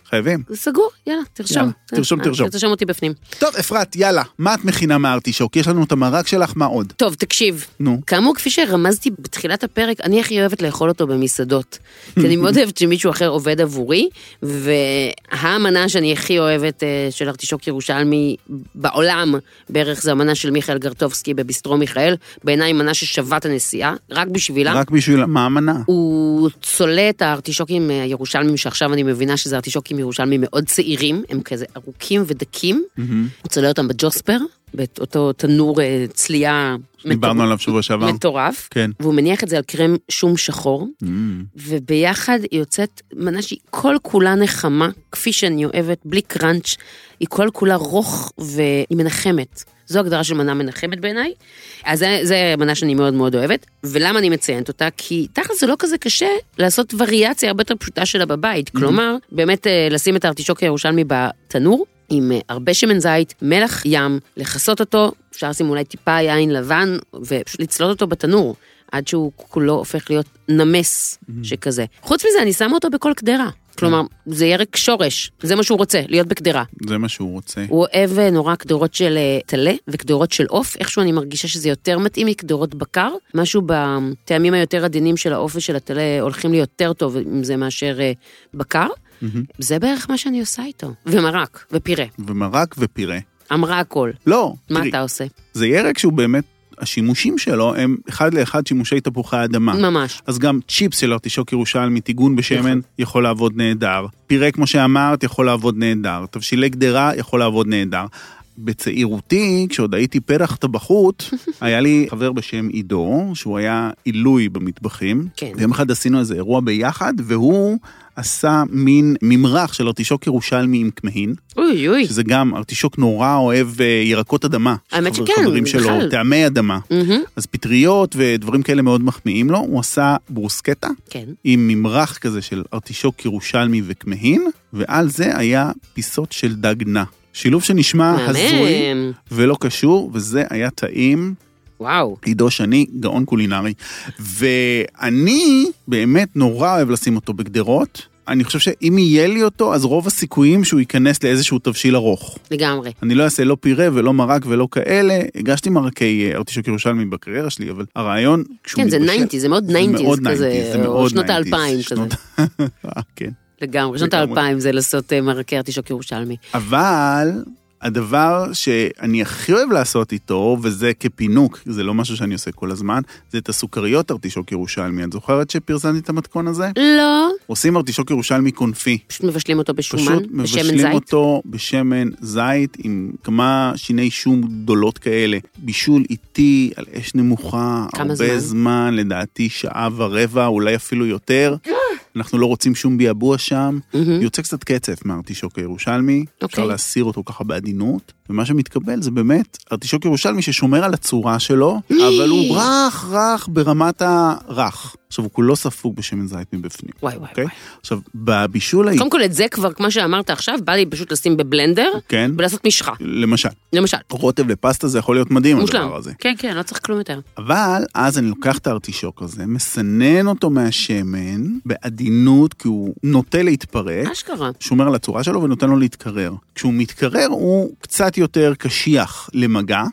[SPEAKER 2] חייבים.
[SPEAKER 3] זה סגור, יאללה, תרשום.
[SPEAKER 2] יאללה,
[SPEAKER 3] אה,
[SPEAKER 2] תרשום,
[SPEAKER 3] אה,
[SPEAKER 2] תרשום.
[SPEAKER 3] תרשום אותי בפנים.
[SPEAKER 2] טוב, אפרת, יאללה, מה את מכינה מהארטישוק? יש לנו את המרק שלך, מה עוד?
[SPEAKER 3] טוב, תקשיב.
[SPEAKER 2] נו.
[SPEAKER 3] כאמור, כפי שרמזתי בתחילת הפרק, אני הכי אוהבת לאכול אותו במסעדות. כי אני מאוד אוהבת שמישהו אחר עובד עבורי, והמנה שאני הכי אוהבת אה, של ארטישוק ירושלמי בעולם, בערך זו המנה של מיכאל גרטובסקי בביסטרו מיכאל, בעיניי מנה ששווה את הנסיעה, רק בשבילה.
[SPEAKER 2] רק בשביל מה המנה?
[SPEAKER 3] הוא צולע את הארטישוקים אה, הירושלמים, שעכשיו אני מבינה שזה ארטישוקים ירושלמים מאוד צעירים, הם כזה ארוכים ודקים. הוא צולע אותם בג'וספר, באותו תנור אה, צליעה
[SPEAKER 2] דיברנו עליו שבוע שעבר.
[SPEAKER 3] מטורף.
[SPEAKER 2] כן.
[SPEAKER 3] והוא מניח את זה על קרם שום שחור,
[SPEAKER 2] Mm.
[SPEAKER 3] וביחד היא יוצאת מנה שהיא כל כולה נחמה, כפי שאני אוהבת, בלי קראנץ', היא כל כולה רוך והיא מנחמת. זו הגדרה של מנה מנחמת בעיניי. אז זה- זה מנה שאני מאוד מאוד אוהבת, ולמה אני מציינת אותה? כי תכל'ס זה לא כזה קשה לעשות וריאציה הרבה יותר פשוטה שלה בבית. כלומר, באמת אה, לשים את הארטישוק הירושלמי בתנור. עם אה, הרבה שמן זית, מלח ים, לכסות אותו, אפשר לשים אולי טיפה יין לבן, ופשוט לצלות אותו בתנור, עד שהוא כולו הופך להיות נמס שכזה. חוץ מזה, אני שמה אותו בכל קדרה. כלומר, זה ירק שורש, זה מה שהוא רוצה, להיות בקדרה.
[SPEAKER 2] זה מה שהוא רוצה.
[SPEAKER 3] הוא אוהב אה, נורא קדורות של אה, טלה וקדורות של עוף, איכשהו אני מרגישה שזה יותר מתאים מקדורות בקר, משהו בטעמים היותר עדינים של העוף ושל הטלה הולכים לי יותר טוב עם זה מאשר אה, בקר. זה בערך מה שאני עושה איתו. ומרק, ופירה,
[SPEAKER 2] ומרק ופירה.
[SPEAKER 3] אמרה הכל.
[SPEAKER 2] לא,
[SPEAKER 3] מה
[SPEAKER 2] תראי,
[SPEAKER 3] אתה עושה?
[SPEAKER 2] זה ירק שהוא באמת, השימושים שלו הם אחד לאחד שימושי תפוחי אדמה.
[SPEAKER 3] ממש.
[SPEAKER 2] אז גם צ'יפס של ארטישוק ירושלמי, טיגון בשמן,
[SPEAKER 3] נכון.
[SPEAKER 2] יכול לעבוד נהדר. פירה, כמו שאמרת, יכול לעבוד נהדר. תבשילי קדרה, יכול לעבוד נהדר. בצעירותי, כשעוד הייתי פרח טבחות, היה לי חבר בשם עידו, שהוא היה עילוי במטבחים.
[SPEAKER 3] כן.
[SPEAKER 2] ויום אחד עשינו איזה אירוע ביחד, והוא עשה מין ממרח של ארטישוק ירושלמי עם כמהין.
[SPEAKER 3] אוי אוי.
[SPEAKER 2] שזה גם, ארטישוק נורא אוהב אה, ירקות אדמה.
[SPEAKER 3] האמת
[SPEAKER 2] חבר-
[SPEAKER 3] שכן,
[SPEAKER 2] חברים שלו,
[SPEAKER 3] בכלל.
[SPEAKER 2] טעמי אדמה.
[SPEAKER 3] מהמם.
[SPEAKER 2] אז פטריות ודברים כאלה מאוד מחמיאים לו, הוא עשה ברוסקטה
[SPEAKER 3] כן.
[SPEAKER 2] עם ממרח כזה של ארטישוק ירושלמי וכמהין, ועל זה היה פיסות של דג נע. שילוב שנשמע אה, הזוי
[SPEAKER 3] מהמם.
[SPEAKER 2] ולא קשור, וזה היה טעים.
[SPEAKER 3] וואו.
[SPEAKER 2] עידו שני, גאון קולינרי. ואני באמת נורא אוהב לשים אותו בגדרות. אני חושב שאם יהיה לי אותו, אז רוב הסיכויים שהוא ייכנס לאיזשהו תבשיל ארוך.
[SPEAKER 3] לגמרי.
[SPEAKER 2] אני לא אעשה לא פירה ולא מרק ולא כאלה. הגשתי מרקי אה, ארטישוק ירושלמי בקריירה שלי, אבל הרעיון, כשהוא
[SPEAKER 3] כן, זה
[SPEAKER 2] מתבשל-
[SPEAKER 3] 90, זה מאוד 90,
[SPEAKER 2] מאוד
[SPEAKER 3] כזה,
[SPEAKER 2] 90s, זה
[SPEAKER 3] או
[SPEAKER 2] מאוד
[SPEAKER 3] שנות
[SPEAKER 2] 90s,
[SPEAKER 3] האלפיים כזה.
[SPEAKER 2] שנות- אה, כן.
[SPEAKER 3] לגמרי, שנות
[SPEAKER 2] לגמרי.
[SPEAKER 3] האלפיים זה לעשות אה, מרקי ארטישוק ירושלמי.
[SPEAKER 2] אבל הדבר שאני הכי אוהב לעשות איתו, וזה כפינוק, זה לא משהו שאני עושה כל הזמן, זה את הסוכריות ארטישוק ירושלמי. את זוכרת שפרסמתי את המתכון הזה?
[SPEAKER 3] לא,
[SPEAKER 2] עושים ארטישוק ירושלמי קונפי.
[SPEAKER 3] פשוט מבשלים אותו בשומן,
[SPEAKER 2] פשוט
[SPEAKER 3] בשמן
[SPEAKER 2] מבשלים
[SPEAKER 3] זית.
[SPEAKER 2] אותו בשמן זית עם כמה שיני שום גדולות כאלה. בישול איטי, על אש נמוכה,
[SPEAKER 3] כמה
[SPEAKER 2] הרבה
[SPEAKER 3] זמן?
[SPEAKER 2] זמן, לדעתי שעה ורבע, אולי אפילו יותר. אנחנו לא רוצים שום ביעבוע שם.
[SPEAKER 3] אה! מהמם.
[SPEAKER 2] יוצא קצת קצף מהארטישוק הירושלמי, אפשר
[SPEAKER 3] אוקיי.
[SPEAKER 2] להסיר אותו ככה בעדינות, ומה שמתקבל זה באמת ארטישוק ירושלמי ששומר על הצורה שלו, אבל הוא רך רך ברמת הרך. עכשיו, הוא כולו ספוג בשמן זית מבפנים.
[SPEAKER 3] וואי וואי
[SPEAKER 2] אוקיי?
[SPEAKER 3] וואי.
[SPEAKER 2] עכשיו, בבישול האיטי,
[SPEAKER 3] קודם כל את זה כבר, כמו שאמרת עכשיו, בא לי פשוט לשים בבלנדר
[SPEAKER 2] כן,
[SPEAKER 3] ולעשות משחה,
[SPEAKER 2] למשל,
[SPEAKER 3] למשל.
[SPEAKER 2] רוטב לפסטה נכון, זה יכול להיות מדהים,
[SPEAKER 3] מושלם.
[SPEAKER 2] הדבר הזה. אוקיי.
[SPEAKER 3] כן, כן, לא צריך כלום יותר.
[SPEAKER 2] אבל אז אני לוקח את הארטישוק הזה, מסנן אותו מהשמן, בעדינות, כי הוא נוטה להתפרק.
[SPEAKER 3] אשכרה.
[SPEAKER 2] שומר על הצורה שלו ונותן לו להתקרר. כשהוא מתקרר הוא קצת יותר קשיח למגע,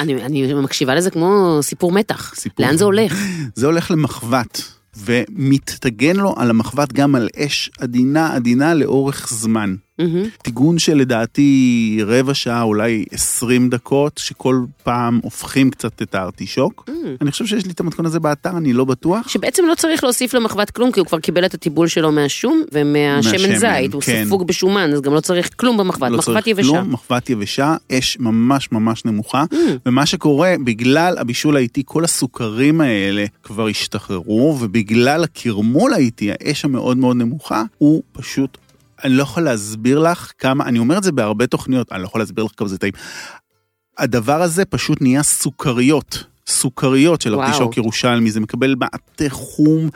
[SPEAKER 3] אני אני מקשיבה לזה כמו סיפור מתח.
[SPEAKER 2] סיפור.
[SPEAKER 3] לאן זה הולך?
[SPEAKER 2] זה הולך למחבת, ומתטגן לו על המחבת גם על אש עדינה עדינה לאורך זמן.
[SPEAKER 3] מהמם.
[SPEAKER 2] טיגון שלדעתי רבע שעה, אולי 20 דקות, שכל פעם הופכים קצת את הארטישוק. אני חושב שיש לי את המתכון הזה באתר, אני לא בטוח.
[SPEAKER 3] Mm. שבעצם לא צריך להוסיף למחבת כלום, כי הוא כבר קיבל את הטיבול שלו מהשום ומהשמן
[SPEAKER 2] מהשמן,
[SPEAKER 3] זית, הוא
[SPEAKER 2] כן.
[SPEAKER 3] ספוג בשומן, אז גם לא צריך כלום במחבת,
[SPEAKER 2] לא
[SPEAKER 3] מחבת
[SPEAKER 2] צריך
[SPEAKER 3] יבשה. Mm.
[SPEAKER 2] כלום, מחבת יבשה, אש ממש ממש נמוכה. ומה שקורה, בגלל הבישול האיטי, כל הסוכרים האלה כבר השתחררו, ובגלל הקרמול האיטי, האש המאוד מאוד נמוכה, הוא פשוט... אני לא יכול להסביר לך כמה, אני אומר את זה בהרבה תוכניות, אני לא יכול להסביר לך כמה זה טעים. הדבר הזה פשוט נהיה סוכריות, סוכריות של
[SPEAKER 3] וואו.
[SPEAKER 2] ארטישוק ירושלמי, זה מקבל מעטה חום,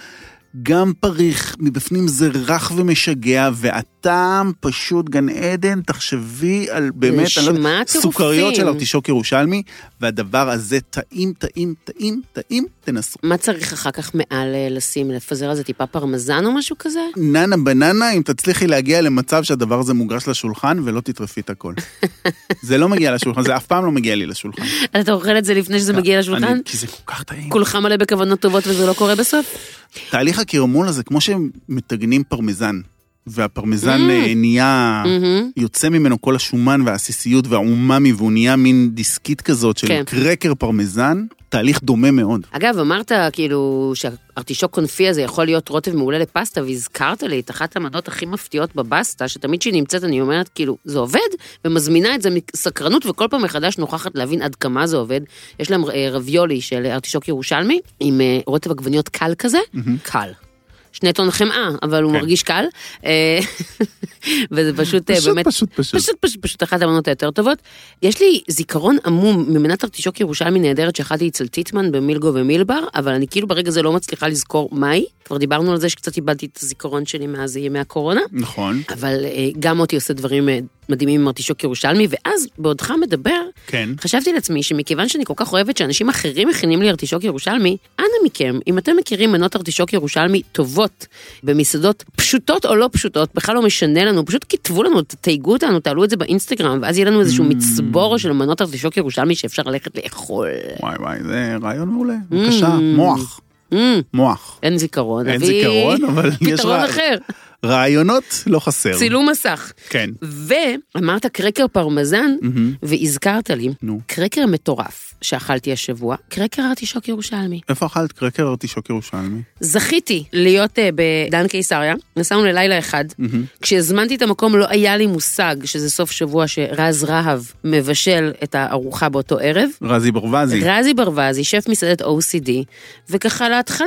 [SPEAKER 2] גם פריך, מבפנים זה רך ומשגע, והטעם פשוט גן עדן, תחשבי על באמת, אני לא יודע,
[SPEAKER 3] נשמע טירופים.
[SPEAKER 2] סוכריות של ארטישוק ירושלמי, והדבר הזה טעים, טעים, טעים, טעים, תנסו.
[SPEAKER 3] מה צריך אחר כך מעל אה, לשים, לפזר על זה טיפה פרמזן או משהו כזה?
[SPEAKER 2] ננה בננה, אם תצליחי להגיע למצב שהדבר הזה מוגש לשולחן ולא תטרפי את הכל. זה לא מגיע לשולחן, זה אף פעם לא מגיע לי לשולחן.
[SPEAKER 3] אתה אוכל את זה לפני שזה מגיע לשולחן?
[SPEAKER 2] אה, אני- כי זה כל כך טעים.
[SPEAKER 3] כולך מלא בכוונות טובות וזה לא קורה בסוף?
[SPEAKER 2] תהליך הקרמול הזה, כמו שהם מטגנים פרמזן, והפרמזן
[SPEAKER 3] Mm.
[SPEAKER 2] אה, נהיה,
[SPEAKER 3] מהמם.
[SPEAKER 2] יוצא ממנו כל השומן והעסיסיות והעוממי, והוא נהיה מין דיסקית כזאת של
[SPEAKER 3] כן.
[SPEAKER 2] קרקר פרמזן, תהליך דומה מאוד.
[SPEAKER 3] אגב, אמרת כאילו שהארטישוק קונפי הזה יכול להיות רוטב מעולה לפסטה, והזכרת לי את אחת המנות הכי מפתיעות בבסטה, שתמיד כשהיא נמצאת אני אומרת, כאילו, זה עובד, ומזמינה את זה מסקרנות, וכל פעם מחדש נוכחת להבין עד כמה זה עובד. יש להם אה, רביולי של ארטישוק ירושלמי, עם אה, רוטב עגבניות קל כזה, קל. שני טון חמאה, אבל הוא
[SPEAKER 2] כן.
[SPEAKER 3] מרגיש קל, אה, וזה פשוט, אה,
[SPEAKER 2] פשוט,
[SPEAKER 3] באמת
[SPEAKER 2] פשוט, פשוט.
[SPEAKER 3] פשוט, פשוט, פשוט אחת המנות היותר טובות. יש לי זיכרון עמום ממנת ארטישוק ירושלמי נהדרת שאכלתי אצל טיטמן במילגו ומילבר, אבל אני כאילו ברגע זה לא מצליחה לזכור מהי. כבר דיברנו על זה שקצת איבדתי את הזיכרון שלי מאז ימי הקורונה.
[SPEAKER 2] נכון,
[SPEAKER 3] אבל אה, גם מוטי עושה דברים אה, מדהימים עם ארטישוק ירושלמי, ואז בעודך מדבר,
[SPEAKER 2] כן.
[SPEAKER 3] חשבתי לעצמי שמכיוון שאני כל כך אוהבת שאנשים אחרים מכינים לי ארטישוק ירושלמי, אנא מכם, אם אתם מכירים מנות ארטישוק ירושלמי טובות במסעדות פשוטות או לא פשוטות, בכלל לא משנה לנו, פשוט כתבו לנו, תתייגו אותנו, תעלו את זה באינסטגרם, ואז יהיה לנו איזשהו
[SPEAKER 2] Mm.
[SPEAKER 3] מצבור של מנות ארטישוק ירושלמי שאפשר ללכת לאכול.
[SPEAKER 2] וואי וואי, זה רעיון מעולה. בבקשה, מוח,
[SPEAKER 3] Mm,
[SPEAKER 2] מוח.
[SPEAKER 3] אין זיכרון,
[SPEAKER 2] אין
[SPEAKER 3] אבי.
[SPEAKER 2] זיכרון, אבל יש
[SPEAKER 3] פתרון
[SPEAKER 2] רע-
[SPEAKER 3] אחר,
[SPEAKER 2] רעיונות לא חסר.
[SPEAKER 3] צילום מסך.
[SPEAKER 2] כן.
[SPEAKER 3] ואמרת קרקר פרמזן,
[SPEAKER 2] מהמם.
[SPEAKER 3] והזכרת לי
[SPEAKER 2] נו.
[SPEAKER 3] קרקר מטורף שאכלתי השבוע, קרקר ארטישוק ירושלמי.
[SPEAKER 2] איפה אכלת קרקר ארטישוק ירושלמי?
[SPEAKER 3] זכיתי להיות אה, בדן קיסריה, נסענו ללילה אחד. כשהזמנתי את המקום לא היה לי מושג שזה סוף שבוע שרז רהב מבשל את הארוחה באותו ערב.
[SPEAKER 2] רזי ברווזי.
[SPEAKER 3] רזי ברווזי, שף מסעדת OCD, וככה להתחלה,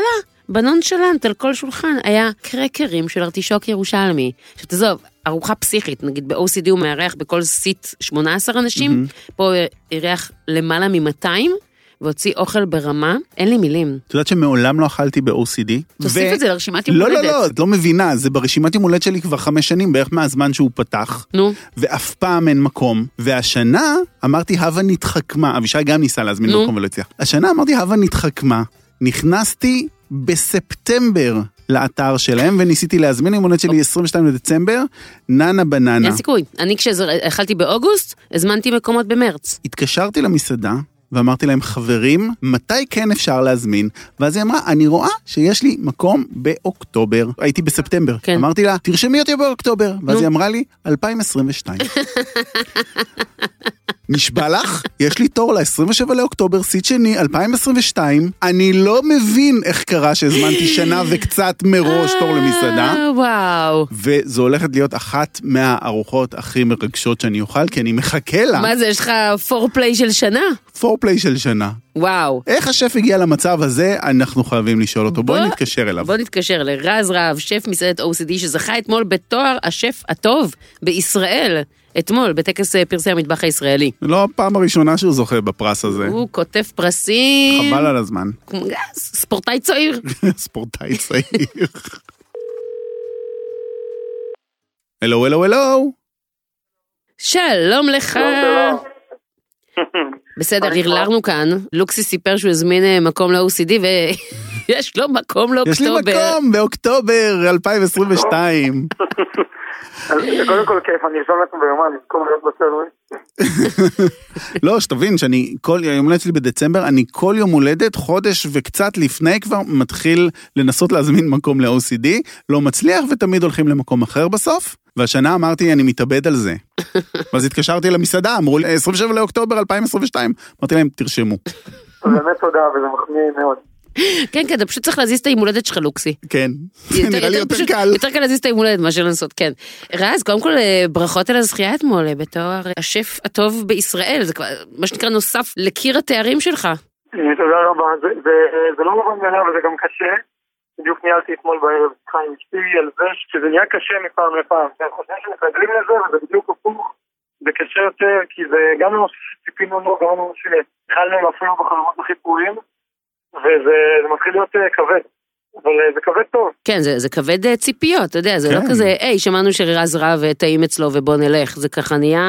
[SPEAKER 3] בנונשלנט על כל שולחן היה קרקרים של ארטישוק ירושלמי. עכשיו תעזוב, ארוחה פסיכית, נגיד ב-OCD הוא מארח בכל סיט 18 אנשים, פה הוא אירח למעלה מ-200, והוציא אוכל ברמה, אין לי מילים.
[SPEAKER 2] את יודעת שמעולם לא אכלתי ב-OCD?
[SPEAKER 3] תוסיף את זה לרשימת יום
[SPEAKER 2] לא,
[SPEAKER 3] הולדת.
[SPEAKER 2] לא, לא, את לא מבינה, זה ברשימת יום הולדת שלי כבר חמש שנים, בערך מהזמן שהוא פתח,
[SPEAKER 3] נו,
[SPEAKER 2] ואף פעם אין מקום. והשנה אמרתי, הווה נתחכמה, אבישי גם ניסה להזמין
[SPEAKER 3] נו.
[SPEAKER 2] מקום ולא הצליח. השנה אמרתי, הווה נתחכמה. נכנסתי בספטמבר לאתר שלהם, וניסיתי להזמין יום הולדת שלי 22 לדצמבר, ננה בננה.
[SPEAKER 3] אין סיכוי. אני כשאכלתי באוגוסט, הזמנתי מקומות במרץ.
[SPEAKER 2] התקשרתי למסעדה. ואמרתי להם, חברים, מתי כן אפשר להזמין? ואז היא אמרה, אני רואה שיש לי מקום באוקטובר. הייתי בספטמבר.
[SPEAKER 3] כן.
[SPEAKER 2] אמרתי לה, תרשמי אותי באוקטובר. ואז
[SPEAKER 3] נו.
[SPEAKER 2] היא אמרה לי, 2022. נשבע לך? יש לי תור ל-27 לאוקטובר, סיט שני, 2022. אני לא מבין איך קרה שהזמנתי שנה וקצת מראש תור למסעדה.
[SPEAKER 3] אה, וואו.
[SPEAKER 2] וזו הולכת להיות אחת מהארוחות הכי מרגשות שאני אוכל, כי אני מחכה לה.
[SPEAKER 3] מה זה, יש לך פורפליי של שנה?
[SPEAKER 2] פורפליי של שנה.
[SPEAKER 3] וואו.
[SPEAKER 2] איך השף הגיע למצב הזה, אנחנו חייבים לשאול אותו. בואי
[SPEAKER 3] בוא-
[SPEAKER 2] נתקשר אליו.
[SPEAKER 3] בוא נתקשר לרז רהב, שף מסעדת OCD, שזכה אתמול בתואר השף הטוב בישראל, אתמול, בטקס אה, פרסי המטבח הישראלי.
[SPEAKER 2] לא הפעם הראשונה שהוא זוכה בפרס הזה.
[SPEAKER 3] הוא כותב פרסים,
[SPEAKER 2] חבל על הזמן.
[SPEAKER 3] כמו- אה, ספורטאי צעיר.
[SPEAKER 2] ספורטאי צעיר. הלו, הלו, הלו.
[SPEAKER 3] שלום לך. בסדר,
[SPEAKER 4] מה נשמע?
[SPEAKER 3] הרלרנו כאן, לוקסי סיפר שהוא הזמין אה, מקום ל-OCD ויש לו מקום לא
[SPEAKER 2] יש לי
[SPEAKER 3] לאוקטובר.
[SPEAKER 2] מקום באוקטובר 2022.
[SPEAKER 5] אז זה קודם כל כיף, אני ארשום לעצמי ביומן, במקום להיות בסלווי.
[SPEAKER 2] לא, שתבין שאני כל יום הולדת שלי בדצמבר, אני כל יום הולדת, חודש וקצת לפני כבר מתחיל לנסות להזמין מקום ל-OCD, לא מצליח ותמיד הולכים למקום אחר בסוף. והשנה אמרתי, אני מתאבד על זה. ואז התקשרתי למסעדה, אמרו לי, 27 לאוקטובר 2022. אמרתי להם, תרשמו.
[SPEAKER 5] באמת תודה, וזה מחמיא מאוד.
[SPEAKER 3] כן, כן, אתה פשוט צריך להזיז את היום הולדת שלך, לוקסי.
[SPEAKER 2] כן. נראה לי יותר
[SPEAKER 3] פשוט-
[SPEAKER 2] קל.
[SPEAKER 3] יותר קל להזיז את היום הולדת מאשר לנסות, כן. רז, קודם כל, אה, ברכות על הזכייה אתמול, אה, בתואר השף הטוב בישראל, זה כבר, מה שנקרא, נוסף לקיר התארים שלך.
[SPEAKER 5] אה, תודה רבה. זה- זה- זה לא מובן מאליו, וזה גם קשה. בדיוק ניהלתי אתמול בערב איתך עם אשתי על זה שזה נהיה קשה מפעם לפעם. הם חושבים שמתרגלים לזה, וזה בדיוק הפוך. זה קשה יותר, כי זה גם לא משהו שציפינו לו, גם לא משהו שהתחלנו אפילו בחלומות הכי פרועים, וזה זה מתחיל להיות אה, כבד. אבל אה, זה כבד טוב.
[SPEAKER 3] כן, זה, זה כבד אה, ציפיות, אתה יודע, זה לא
[SPEAKER 2] כן.
[SPEAKER 3] כזה, היי, שמענו שרז רב אה, טעים אצלו ובוא נלך, זה ככה נהיה...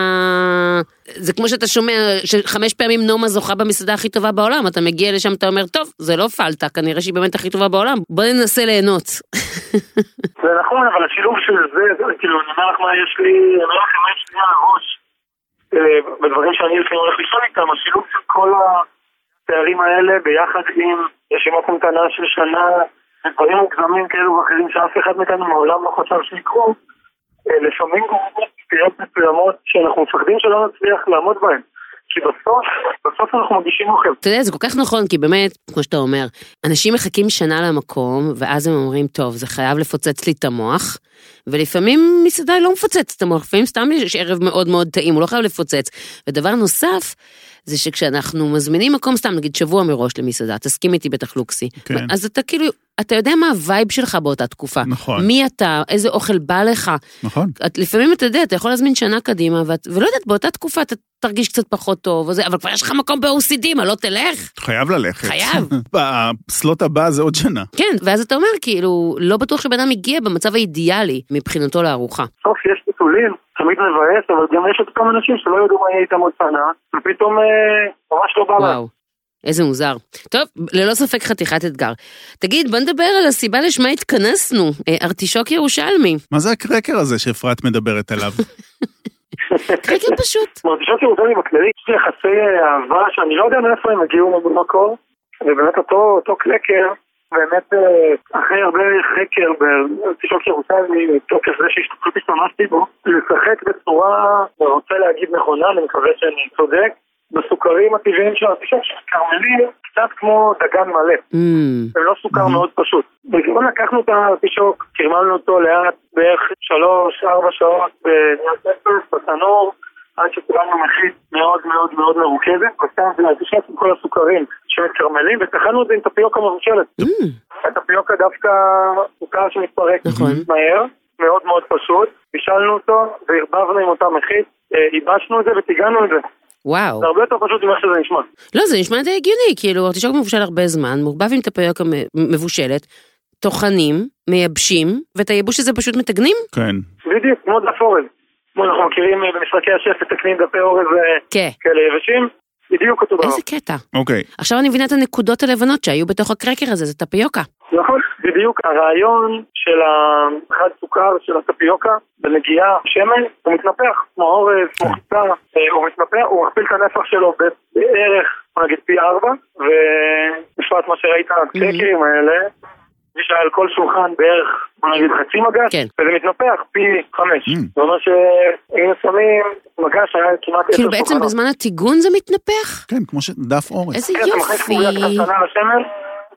[SPEAKER 3] זה כמו שאתה שומע שחמש פעמים נומה זוכה במסעדה הכי טובה בעולם, אתה מגיע לשם, אתה אומר, טוב, זה לא פלטה, כנראה שהיא באמת הכי טובה בעולם, בוא ננסה ליהנות.
[SPEAKER 5] זה נכון, אבל השילוב של זה, זה- כאילו, אני אומר לך מה יש לי, אני אומר לכם מה יש לי על הראש, אה, בדברים שאני לפעמים הולך לישון איתם, השילוב של כל התארים האלה ביחד עם רשימת המתנה של שנה, ודברים מוגזמים כאלו ואחרים שאף אחד מאיתנו מעולם לא חשב שיקרו, אה, לפעמים גורמות סטיות מסוימות שאנחנו מפחדים שלא נצליח לעמוד בהן. כי בסוף, בסוף אנחנו מגישים אוכל.
[SPEAKER 3] אתה יודע, זה כל כך נכון, כי באמת, כמו שאתה אומר, אנשים מחכים שנה למקום, ואז הם אומרים, טוב, זה חייב לפוצץ לי את המוח, ולפעמים מסעדה היא לא מפוצצת את המוח, לפעמים סתם יש ערב מאוד מאוד טעים, הוא לא חייב לפוצץ. ודבר נוסף, זה שכשאנחנו מזמינים מקום, סתם נגיד שבוע מראש למסעדה, תסכים איתי בטח לוקסי,
[SPEAKER 2] כן.
[SPEAKER 3] אז אתה כאילו, אתה יודע מה הווייב שלך באותה תקופה.
[SPEAKER 2] נכון.
[SPEAKER 3] מי אתה, איזה אוכל בא לך,
[SPEAKER 2] נכון.
[SPEAKER 3] את, לפעמים אתה יודע, אתה יכול להזמין שנה קדימה, ואת, ולא יודעת, באותה תקופה אתה תרגיש קצת פחות טוב, וזה, אבל כבר יש לך מקום ב-OCD, מה לא תלך?
[SPEAKER 2] חייב ללכת.
[SPEAKER 3] חייב.
[SPEAKER 2] הסלוט הבא זה עוד שנה.
[SPEAKER 3] כן, ואז אתה אומר, כאילו, לא בטוח שבן אדם הגיע במצב האידיאלי מבחינתו לארוחה.
[SPEAKER 5] בסוף יש טיטולים, תמיד מבאס, אבל גם יש עוד כמה אנשים שלא ידעו מה יהיה איתם עוד שנה, ופתאום אה, ממש לא בא להם.
[SPEAKER 3] וואו. איזה מוזר. טוב, ללא ספק חתיכת אתגר. תגיד, בוא נדבר על הסיבה לשמה התכנסנו, אה, ארטישוק ירושלמי.
[SPEAKER 2] מה זה הקרקר הזה שאפרת מדברת עליו?
[SPEAKER 3] קרקר כן, פשוט.
[SPEAKER 5] מרגישה שירושלים בכללי, יש לי יחסי אה, אהבה שאני לא יודע מאיפה הם הגיעו במקור, ובאמת אותו, אותו קלקר, באמת אה, אחרי הרבה חקר בתשעות ירושלמי, מתוקף זה שפשוט השתמשתי בו, לשחק בצורה, אני רוצה להגיד נכונה, אני מקווה שאני צודק, בסוכרים הטבעיים של התשעות של כרמלים, קצת כמו דגן מלא.
[SPEAKER 3] אמ,
[SPEAKER 5] הם לא סוכר מאוד פשוט. בגרון לקחנו את הפישוק, קרמלנו אותו לאט בערך שלוש, ארבע שעות אה, בניית אפס, בתנור, עד שקיבלנו מחית מאוד מאוד מאוד מרוכזת, ושם זה להגישת עם כל הסוכרים שמתקרמלים, וטחנו את זה עם טפיוקה מבושלת. הטפיוקה דווקא סוכר שמתפרק
[SPEAKER 3] נכון.
[SPEAKER 5] מהר, מאוד מאוד פשוט, בישלנו אותו וערבבנו עם אותה מחית, אה, ייבשנו את זה וטיגנו את זה.
[SPEAKER 3] וואו.
[SPEAKER 5] זה הרבה יותר פשוט ממה שזה נשמע.
[SPEAKER 3] לא, זה נשמע די הגיוני, כאילו, ארטישוק מבושל הרבה זמן, מעורבב עם טפיוקה מ- מבושלת, טוחנים, מייבשים, ואת הייבוש הזה פשוט מתגנים?
[SPEAKER 2] כן.
[SPEAKER 5] בדיוק, כמו דף אורז. כמו אנחנו מכירים אה, במשחקי השף מתקנים דפי אורז אה,
[SPEAKER 3] כן.
[SPEAKER 5] כאלה יבשים, בדיוק אותו דבר.
[SPEAKER 3] איזה קטע.
[SPEAKER 2] אוקיי.
[SPEAKER 3] עכשיו אני מבינה את הנקודות הלבנות שהיו בתוך הקרקר הזה, זה טפיוקה.
[SPEAKER 5] נכון, בדיוק הרעיון של החד סוכר של הטפיוקה בנגיעה שמן, הוא מתנפח, כמו אורז, כמו חיטה, אה, הוא מתנפח, הוא מכפיל את הנפח שלו בערך, בוא נגיד פי ארבע, ובפרט מה שראית, הקקרים האלה, יש על כל שולחן בערך, בוא נגיד חצי מגש,
[SPEAKER 3] כן.
[SPEAKER 5] וזה מתנפח פי חמש.
[SPEAKER 2] Mm.
[SPEAKER 5] זאת אומרת שהיינו שמים מגש היה כמעט עשר
[SPEAKER 3] כאילו בעצם בזמן הטיגון זה מתנפח?
[SPEAKER 2] כן, כמו ש... דף אורז.
[SPEAKER 3] איזה
[SPEAKER 5] כן, אתה מכניס
[SPEAKER 3] יופי.
[SPEAKER 5] חוליה קטנה לשמן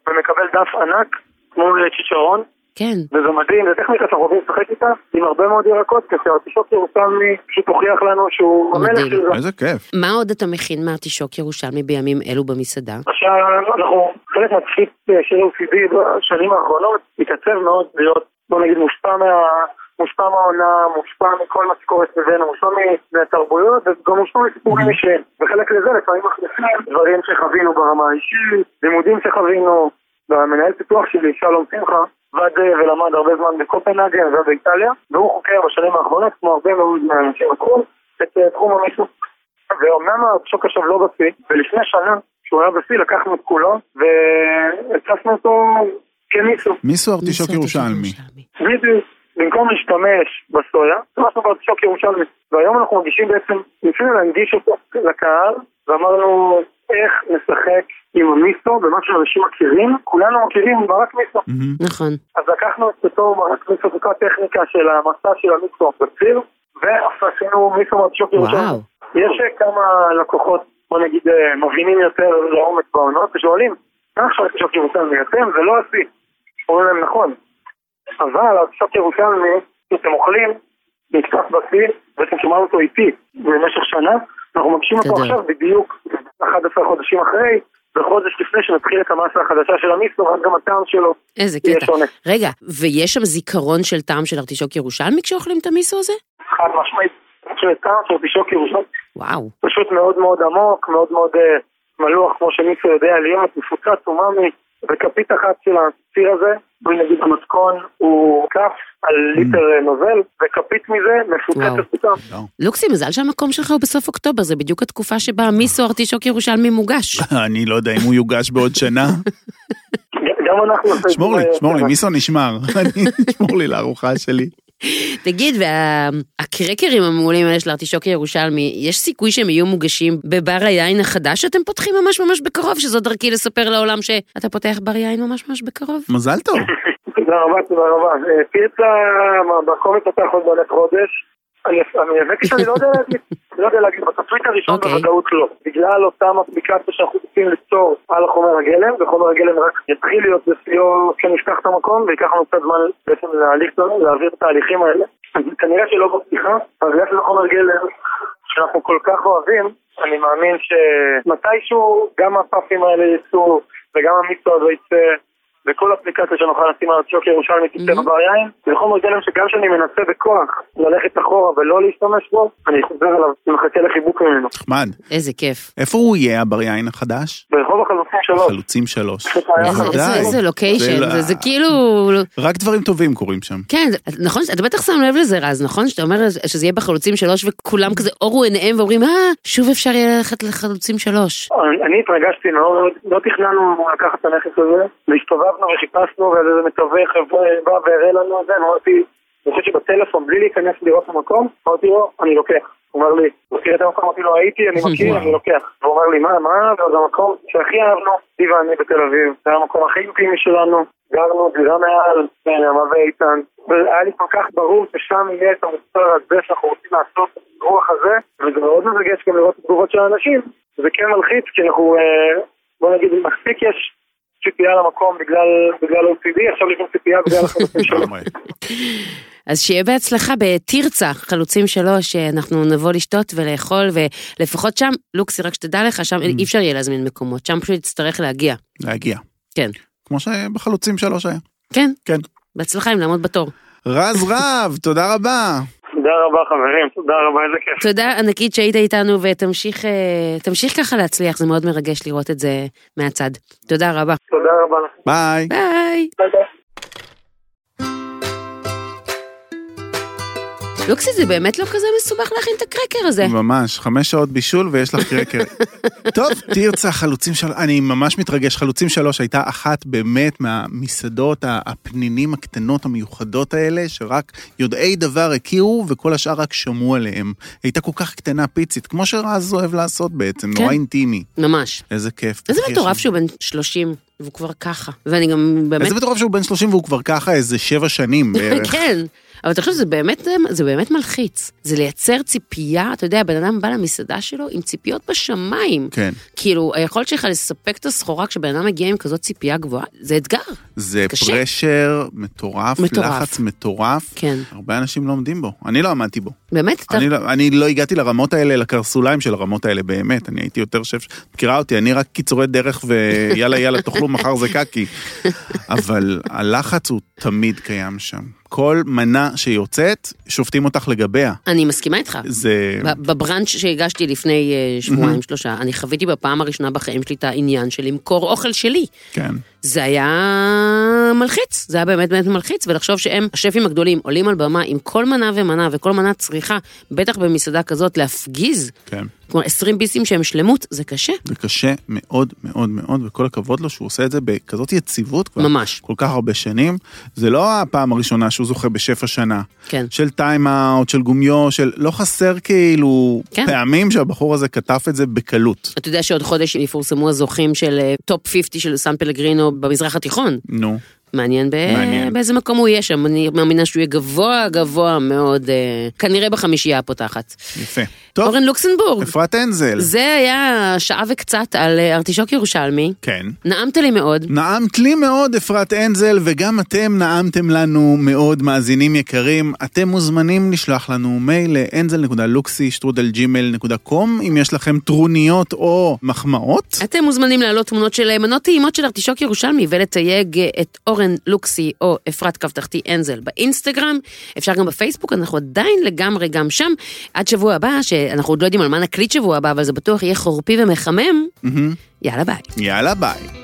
[SPEAKER 5] ומקבל דף ענק, כמו צ'יצ'רון,
[SPEAKER 3] כן.
[SPEAKER 5] וזה מדהים, זו טכניקה שאנחנו רוצים לשחק איתה עם הרבה מאוד ירקות, כשהארטישוק ירושלמי פשוט הוכיח לנו שהוא
[SPEAKER 3] מדהים.
[SPEAKER 5] המלך של זה.
[SPEAKER 2] איזה כיף.
[SPEAKER 3] מה עוד אתה מכין מארטישוק ירושלמי בימים אלו במסעדה?
[SPEAKER 5] עכשיו, אנחנו, חלק מהתפקיד אה, של OCD בשנים האחרונות התעצב מאוד להיות, בוא נגיד, מושפע מה... מושפע מהעונה, מושפע מכל מה שקורה סביבנו, מושפע מ- מהתרבויות וגם מושפע מסיפורים אישיים. וחלק לזה לפעמים מכניסים דברים שחווינו ברמה האישית, לימודים שחווינו, והמנהל פיתוח שלי, שלום שמחה, עבד אה, ולמד הרבה זמן בקופנהגן ובאיטליה, והוא חוקר בשנים האחרונות, כמו הרבה מאוד מהאנשים בתחום, את אה, תחום המיסוך. ואומנם השוק עכשיו לא בשיא, ולפני שנה, כשהוא היה בשיא, לקחנו את כולו, והצפנו אותו כמיסו.
[SPEAKER 2] מיסו ארטישוק
[SPEAKER 3] מסעדת
[SPEAKER 2] ירושלמי.
[SPEAKER 5] בדיוק. במקום להשתמש בסויה, השתמשנו בארטישוק ירושלמי. והיום אנחנו מגישים בעצם, ניסינו להנגיש אותו לקהל, ואמרנו איך נשחק עם המיסו, במה שאנשים מכירים, כולנו מכירים ברק מיסו.
[SPEAKER 2] מהמם.
[SPEAKER 3] נכון.
[SPEAKER 5] אז לקחנו את אותו ברק מיסו, זו כל הטכניקה של המסע של המיסו בציר, ועשינו מיסו מהרשוק
[SPEAKER 3] וואו.
[SPEAKER 5] יש אה, כמה לקוחות, בוא נגיד, אה, מבינים יותר לעומק בעונות, ושואלים, מה עכשיו שוק ירושלמי אתם? זה לא השיא. אומרים להם, נכון. אבל השוק ירושלמי, אתם אוכלים, נקטף בשיא, ואתם שומעים אותו איתי במשך שנה, אנחנו מגשים אותו
[SPEAKER 3] גדול.
[SPEAKER 5] עכשיו בדיוק 11 חודשים אחרי, וחודש לפני שנתחיל את המסה החדשה של המיסו, אז גם הטעם שלו
[SPEAKER 3] איזה
[SPEAKER 5] יהיה
[SPEAKER 3] קטע.
[SPEAKER 5] שונה.
[SPEAKER 3] רגע, ויש שם זיכרון של טעם של ארטישוק ירושלמי כשאוכלים את המיסו הזה?
[SPEAKER 5] חד משמעית, אני חושב שטעם של שוק ירושלמי
[SPEAKER 3] וואו.
[SPEAKER 5] פשוט מאוד מאוד עמוק, מאוד מאוד אה, מלוח, כמו שמישהו יודע להיות, מפוצץ אומאמי, וכפית אחת של הציר הזה, בואי נגיד המתכון הוא כף על ליטר אה, נוזל, וכפית מזה
[SPEAKER 3] וואו.
[SPEAKER 5] מפוצצת פתאום.
[SPEAKER 3] לוקסי, מזל שהמקום שלך הוא בסוף אוקטובר, זה בדיוק התקופה שבה המיסו ארטישוק ירושלמי מוגש.
[SPEAKER 2] אני לא יודע אם הוא יוגש בעוד שנה.
[SPEAKER 5] ג- גם אנחנו...
[SPEAKER 2] שמור לי,
[SPEAKER 5] אה,
[SPEAKER 2] שמור לי,
[SPEAKER 5] אה,
[SPEAKER 2] מיסו נשמר. אני- שמור לי לארוחה שלי.
[SPEAKER 3] תגיד, והקרקרים המעולים האלה של ארטישוק ירושלמי, יש סיכוי שהם יהיו מוגשים בבר היין החדש שאתם פותחים ממש ממש בקרוב, שזו דרכי לספר לעולם שאתה פותח בר יין ממש ממש בקרוב?
[SPEAKER 2] מזל טוב.
[SPEAKER 5] תודה רבה, תודה רבה. אה, פירצה, במקום מתפתח עוד בעוד חודש. אני אני האמת שאני לא יודע להגיד, לא יודע להגיד, בתסריט הראשון
[SPEAKER 3] אוקיי.
[SPEAKER 5] בוודאות לא. בגלל אותם אפליקציה שאנחנו רוצים ליצור על חומר הגלם, וחומר הגלם רק יתחיל להיות בשיאו כשנפתח את המקום, וייקח לנו קצת זמן בעצם להליך לנו, להעביר את התהליכים האלה. אז כנראה שלא בפתיחה, אבל בגלל שזה חומר גלם שאנחנו כל כך אוהבים, אני מאמין שמתישהו גם הפאפים האלה יצאו, וגם המיסו הזה יצא. וכל אפליקציה שנוכל לשים על הצ'וק ירושלמי תצא בבר יין. זה חומר גלם שגם כשאני מנסה בכוח ללכת אחורה ולא להשתמש בו, אני חוזר אליו ומחכה לחיבוק ממנו.
[SPEAKER 2] נחמד.
[SPEAKER 3] איזה כיף.
[SPEAKER 2] איפה הוא יהיה הבריין החדש?
[SPEAKER 5] ברחוב החלופים שלו.
[SPEAKER 2] חלוצים שלוש.
[SPEAKER 3] איזה-
[SPEAKER 2] ודאי.
[SPEAKER 3] איזה- איזה
[SPEAKER 2] אה, זה
[SPEAKER 3] לוקיישן, זה-
[SPEAKER 2] לא-
[SPEAKER 3] זה כאילו...
[SPEAKER 2] רק דברים טובים קורים שם.
[SPEAKER 3] כן, זה- נכון, אתה בטח שם לב לזה רז, נכון? שאתה אומר שזה יהיה בחלוצים שלוש וכולם כזה אורו עיניהם ואומרים, אה, שוב אפשר יהיה ללכת לחלוצים שלוש.
[SPEAKER 5] אני- אני התרגשתי מאוד, לא תכננו לקחת את הנכס הזה, והסתובבנו וחיפשנו, ואז איזה מתווך בא והראה לנו את זה, אמרתי, אני חושב שבטלפון, בלי להיכנס לראות את המקום, אמרתי לו, אני לוקח. הוא אומר לי, מכיר את המקום? אמרתי לו, הייתי, אני מכיר, אני לוקח. כן, והוא אומר לי, מה, מה? זה המקום שהכי אהבנו, היא ואני בתל אביב. זה היה המקום הכי אינטימי שלנו, גרנו דירה מעל, נעמה ואיתן. והיה לי כל כך ברור ששם יהיה את המוצר הזה שאנחנו רוצים לעשות, הרוח הזה, וזה מאוד מרגש גם לראות את התגובות של האנשים. זה כן מלחיץ, כי אנחנו, אה, בוא נגיד, מספיק יש ציפייה למקום בגלל בגלל OCD, עכשיו יש גם ציפייה בגלל החלטים שלו.
[SPEAKER 2] לגמרי.
[SPEAKER 3] אז שיהיה בהצלחה בתרצה, חלוצים שלוש, שאנחנו נבוא לשתות ולאכול, ולפחות שם, לוקסי, רק שתדע לך, שם אי אפשר יהיה להזמין מקומות, שם פשוט תצטרך להגיע.
[SPEAKER 2] להגיע.
[SPEAKER 3] כן.
[SPEAKER 2] כמו שבחלוצים שלוש היה.
[SPEAKER 3] כן?
[SPEAKER 2] כן.
[SPEAKER 3] בהצלחה עם לעמוד בתור.
[SPEAKER 2] רז רב, תודה רבה.
[SPEAKER 5] תודה רבה חברים, תודה רבה, איזה כיף.
[SPEAKER 3] תודה ענקית שהיית איתנו, ותמשיך אה, תמשיך ככה להצליח, זה מאוד מרגש לראות את זה מהצד. תודה רבה.
[SPEAKER 5] תודה רבה לכם.
[SPEAKER 2] ביי.
[SPEAKER 3] ביי.
[SPEAKER 5] ביי ביי.
[SPEAKER 3] לוקסי, זה באמת לא כזה מסובך להכין את הקרקר הזה.
[SPEAKER 2] ממש, חמש שעות בישול ויש לך קרקר. טוב, תרצה, חלוצים שלוש, אני ממש מתרגש, חלוצים שלוש הייתה אחת באמת מהמסעדות ה- הפנינים הקטנות המיוחדות האלה, שרק יודעי דבר הכירו וכל השאר רק שמעו עליהם. הייתה כל כך קטנה פיצית, כמו שרז אוהב לעשות בעצם,
[SPEAKER 3] כן.
[SPEAKER 2] נורא אינטימי.
[SPEAKER 3] ממש.
[SPEAKER 2] איזה כיף.
[SPEAKER 3] איזה
[SPEAKER 2] תחקיר
[SPEAKER 3] מטורף
[SPEAKER 2] שם.
[SPEAKER 3] שהוא בן 30, והוא כבר ככה. ואני גם באמת...
[SPEAKER 2] איזה מטורף שהוא בן 30 והוא כבר ככה איזה שבע שנים בערך.
[SPEAKER 3] כן, אבל אתה חושב שזה באמת, זה באמת מלחיץ. זה לייצר ציפייה, אתה יודע, הבן אדם בא למסעדה שלו עם ציפיות בשמיים.
[SPEAKER 2] כן.
[SPEAKER 3] כאילו, היכולת שלך לספק את הסחורה כשבן אדם מגיע עם כזאת ציפייה גבוהה, זה אתגר.
[SPEAKER 2] זה
[SPEAKER 3] קשה.
[SPEAKER 2] פרשר מטורף,
[SPEAKER 3] מטורף.
[SPEAKER 2] לחץ מטורף.
[SPEAKER 3] כן.
[SPEAKER 2] הרבה אנשים לא עומדים בו, אני לא עמדתי בו.
[SPEAKER 3] באמת, אתה...
[SPEAKER 2] אני לא, אני לא הגעתי לרמות האלה, לקרסוליים של הרמות האלה, באמת, אני הייתי יותר שף, מכירה אותי, אני רק קיצורי דרך ויאללה יאללה תאכלו מחר זה קקי. אבל הלחץ הוא תמיד קיים שם. כל מנה שיוצאת, שופטים אותך לגביה.
[SPEAKER 3] אני מסכימה איתך.
[SPEAKER 2] זה...
[SPEAKER 3] ב- בבראנץ' שהגשתי לפני אה, שבועיים, שלושה, אני חוויתי בפעם הראשונה בחיים שלי את העניין של למכור אוכל שלי.
[SPEAKER 2] כן.
[SPEAKER 3] זה היה מלחיץ, זה היה באמת באמת מלחיץ, ולחשוב שהם, השפים הגדולים, עולים על במה עם כל מנה ומנה וכל מנה צריכה, בטח במסעדה כזאת, להפגיז,
[SPEAKER 2] כן.
[SPEAKER 3] כלומר 20 ביסים שהם שלמות, זה קשה.
[SPEAKER 2] זה קשה מאוד מאוד מאוד, וכל הכבוד לו שהוא עושה את זה בכזאת יציבות כבר.
[SPEAKER 3] ממש.
[SPEAKER 2] כל כך הרבה שנים. זה לא הפעם הראשונה שהוא זוכה בשף השנה.
[SPEAKER 3] כן.
[SPEAKER 2] של טיים-אאוט, של גומיו, של... לא חסר כאילו
[SPEAKER 3] כן.
[SPEAKER 2] פעמים שהבחור הזה כתב את זה בקלות.
[SPEAKER 3] אתה יודע שעוד חודש יפורסמו הזוכים של אה, טופ 50 של סן פלגרינו במזרח התיכון.
[SPEAKER 2] נו.
[SPEAKER 3] מעניין, ב...
[SPEAKER 2] מעניין.
[SPEAKER 3] באיזה מקום הוא יהיה שם, אני מאמינה שהוא יהיה גבוה גבוה מאוד, אה, כנראה בחמישייה הפותחת.
[SPEAKER 2] יפה. טוב,
[SPEAKER 3] אורן לוקסנבורג,
[SPEAKER 2] אפרת הנזל.
[SPEAKER 3] זה היה שעה וקצת על אה, ארטישוק ירושלמי.
[SPEAKER 2] כן.
[SPEAKER 3] נעמת לי מאוד.
[SPEAKER 2] נעמת לי מאוד, אפרת הנזל, וגם אתם נעמתם לנו מאוד, מאזינים יקרים. אתם מוזמנים לשלוח לנו מייל ל-anzel.luxy.gmail.com אם יש לכם טרוניות או מחמאות.
[SPEAKER 3] אתם מוזמנים להעלות תמונות של אה, מנות טעימות של ארטישוק ירושלמי ולתייג אה, את אורן לוקסי או אפרת קו תחתי אנזל באינסטגרם. אפשר גם בפייסבוק, אנחנו עדיין לגמרי גם שם. עד שבוע הבא, שאנחנו עוד לא יודעים על מה נקליט שבוע הבא, אבל זה בטוח יהיה חורפי ומחמם. יאללה ביי.
[SPEAKER 2] יאללה, ביי.